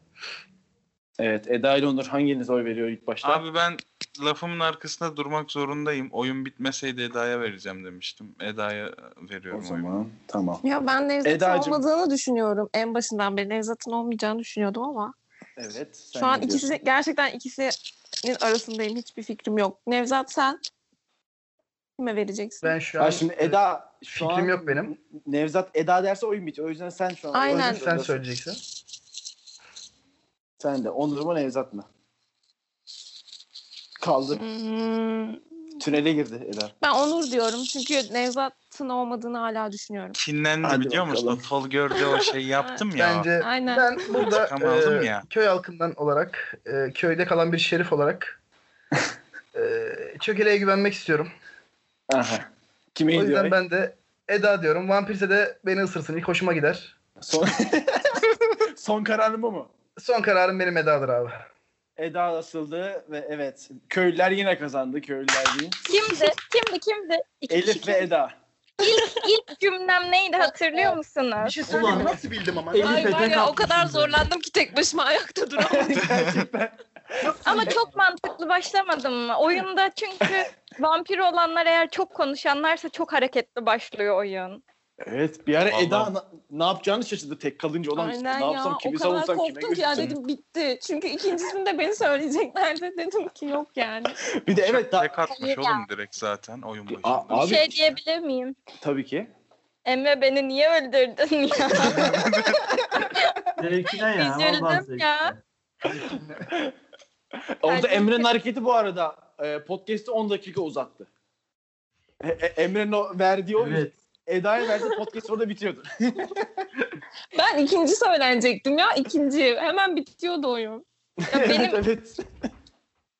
[SPEAKER 1] Evet Eda ile Onur hanginiz oy veriyor ilk başta?
[SPEAKER 7] Abi ben lafımın arkasında durmak zorundayım. Oyun bitmeseydi Eda'ya vereceğim demiştim. Eda'ya
[SPEAKER 1] o
[SPEAKER 7] veriyorum oyunu.
[SPEAKER 1] zaman tamam.
[SPEAKER 5] Ya ben Nevzat'ın
[SPEAKER 1] Edacığım.
[SPEAKER 5] olmadığını düşünüyorum. En başından beri Nevzat'ın olmayacağını düşünüyordum ama.
[SPEAKER 1] Evet. sen
[SPEAKER 5] şu an
[SPEAKER 1] ne diyorsun?
[SPEAKER 5] ikisi gerçekten ikisinin arasındayım. Hiçbir fikrim yok. Nevzat sen kime vereceksin?
[SPEAKER 6] Ben şu an
[SPEAKER 1] Ha şimdi Eda şu
[SPEAKER 6] fikrim
[SPEAKER 1] an
[SPEAKER 6] yok benim.
[SPEAKER 1] Nevzat Eda derse oyun bitiyor. O yüzden sen şu an
[SPEAKER 5] Aynen.
[SPEAKER 1] oyun
[SPEAKER 6] sen
[SPEAKER 1] zorundasın.
[SPEAKER 6] söyleyeceksin.
[SPEAKER 1] Sen de Onur mu Nevzat mı? Kaldı.
[SPEAKER 5] Hmm,
[SPEAKER 1] Tünele girdi Eda.
[SPEAKER 5] ben Onur diyorum çünkü Nevzat'ın olmadığını hala düşünüyorum.
[SPEAKER 7] Kinlendi
[SPEAKER 1] Hadi
[SPEAKER 7] biliyor
[SPEAKER 1] bakalım.
[SPEAKER 7] musun? Tol gördü o şey yaptım ya.
[SPEAKER 6] Bence
[SPEAKER 5] Aynen.
[SPEAKER 6] ben burada
[SPEAKER 7] İntikam aldım
[SPEAKER 6] e,
[SPEAKER 7] ya.
[SPEAKER 6] köy halkından olarak, e, köyde kalan bir şerif olarak e, çökeleğe güvenmek istiyorum.
[SPEAKER 1] Aha. Kime
[SPEAKER 6] O
[SPEAKER 1] gidiyor?
[SPEAKER 6] yüzden ben de Eda diyorum. Vampirse de beni ısırsın. İlk hoşuma gider.
[SPEAKER 1] Son... Son kararın bu mu?
[SPEAKER 6] Son kararım benim Eda'dır abi.
[SPEAKER 1] Eda asıldı ve evet. Köylüler yine kazandı. Köylüler değil.
[SPEAKER 4] Kimdi? Kimdi? Kimdi? İki
[SPEAKER 1] Elif
[SPEAKER 4] kişi
[SPEAKER 1] ve
[SPEAKER 4] kim?
[SPEAKER 1] Eda.
[SPEAKER 4] İlk cümlem neydi hatırlıyor musunuz?
[SPEAKER 6] Bir şey söyleyeyim mi?
[SPEAKER 3] Ulan.
[SPEAKER 6] Nasıl bildim ama?
[SPEAKER 3] Elif
[SPEAKER 5] Ay
[SPEAKER 3] Efe
[SPEAKER 5] var ya o
[SPEAKER 3] kalktı
[SPEAKER 5] kadar
[SPEAKER 3] şimdi.
[SPEAKER 5] zorlandım ki tek başıma ayakta duramadım.
[SPEAKER 1] Gerçekten.
[SPEAKER 4] Ama çok mantıklı başlamadım mı? Oyunda çünkü vampir olanlar eğer çok konuşanlarsa çok hareketli başlıyor oyun.
[SPEAKER 1] evet bir ara
[SPEAKER 7] Vallahi.
[SPEAKER 1] Eda na- ne yapacağını şaşırdı tek kalınca. Ulan
[SPEAKER 5] Aynen
[SPEAKER 1] ne
[SPEAKER 5] ya
[SPEAKER 1] yapsam kimi
[SPEAKER 5] o kadar
[SPEAKER 1] savunsam kime
[SPEAKER 5] korktum ki ya
[SPEAKER 1] götürsem.
[SPEAKER 5] dedim bitti. Çünkü ikincisinde beni söyleyeceklerdi dedim ki yok yani.
[SPEAKER 1] Bir de evet daha...
[SPEAKER 7] Tek atmış oğlum direkt zaten oyun
[SPEAKER 1] Bir-
[SPEAKER 7] başında.
[SPEAKER 1] A-
[SPEAKER 4] Bir
[SPEAKER 1] Abi-
[SPEAKER 4] şey diyebilir miyim?
[SPEAKER 1] tabii ki.
[SPEAKER 4] Emre beni niye öldürdün ya?
[SPEAKER 3] Zevkine ya.
[SPEAKER 4] Üzüldüm
[SPEAKER 3] vallahi zevkine.
[SPEAKER 4] ya.
[SPEAKER 1] Orada
[SPEAKER 4] Bence-
[SPEAKER 1] Emre'nin hareketi bu arada e, podcast'i 10 dakika uzattı. E, e, Emre'nin o verdiği o
[SPEAKER 3] Evet.
[SPEAKER 1] Eda'ya verse podcast orada bitiyordu.
[SPEAKER 5] Ben ikinci söylenecektim ya ikinci. Hemen bitiyordu oyun.
[SPEAKER 4] Ya benim
[SPEAKER 1] evet evet.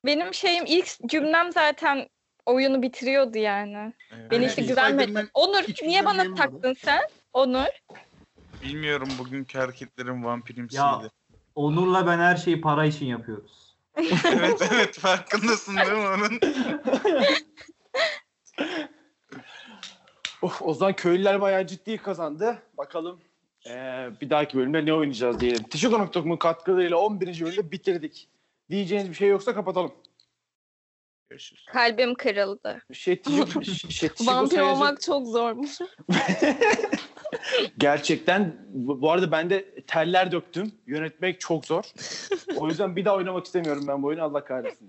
[SPEAKER 4] benim şeyim ilk cümlem zaten oyunu bitiriyordu yani.
[SPEAKER 7] Evet.
[SPEAKER 4] Beni
[SPEAKER 6] Evet,
[SPEAKER 4] işte
[SPEAKER 6] iyi
[SPEAKER 4] güvenmedi.
[SPEAKER 6] saydın,
[SPEAKER 4] Onur
[SPEAKER 6] hiç
[SPEAKER 4] niye bana
[SPEAKER 6] güvenmiyordum.
[SPEAKER 4] taktın sen? Onur.
[SPEAKER 7] Bilmiyorum bugünkü hareketlerim vampirimsiydi.
[SPEAKER 3] Ya Onur'la ben her şeyi para için yapıyoruz.
[SPEAKER 7] evet evet farkındasın değil mi onun?
[SPEAKER 1] Of, o zaman köylüler bayağı ciddi kazandı. Bakalım eee, bir dahaki bölümde ne oynayacağız diyelim. Tişokonok.com'un katkılarıyla 11. bölümde bitirdik. Diyeceğiniz bir şey yoksa kapatalım.
[SPEAKER 7] Görüşürüz.
[SPEAKER 4] Kalbim kırıldı.
[SPEAKER 1] Şey, tişi- şey, tişiko
[SPEAKER 5] Vampir
[SPEAKER 1] sayacak-
[SPEAKER 5] olmak çok zormuş.
[SPEAKER 1] Gerçekten bu bu arada ben de teller döktüm. Yönetmek çok zor. O yüzden bir daha oynamak istemiyorum ben bu oyunu Allah kahretsin.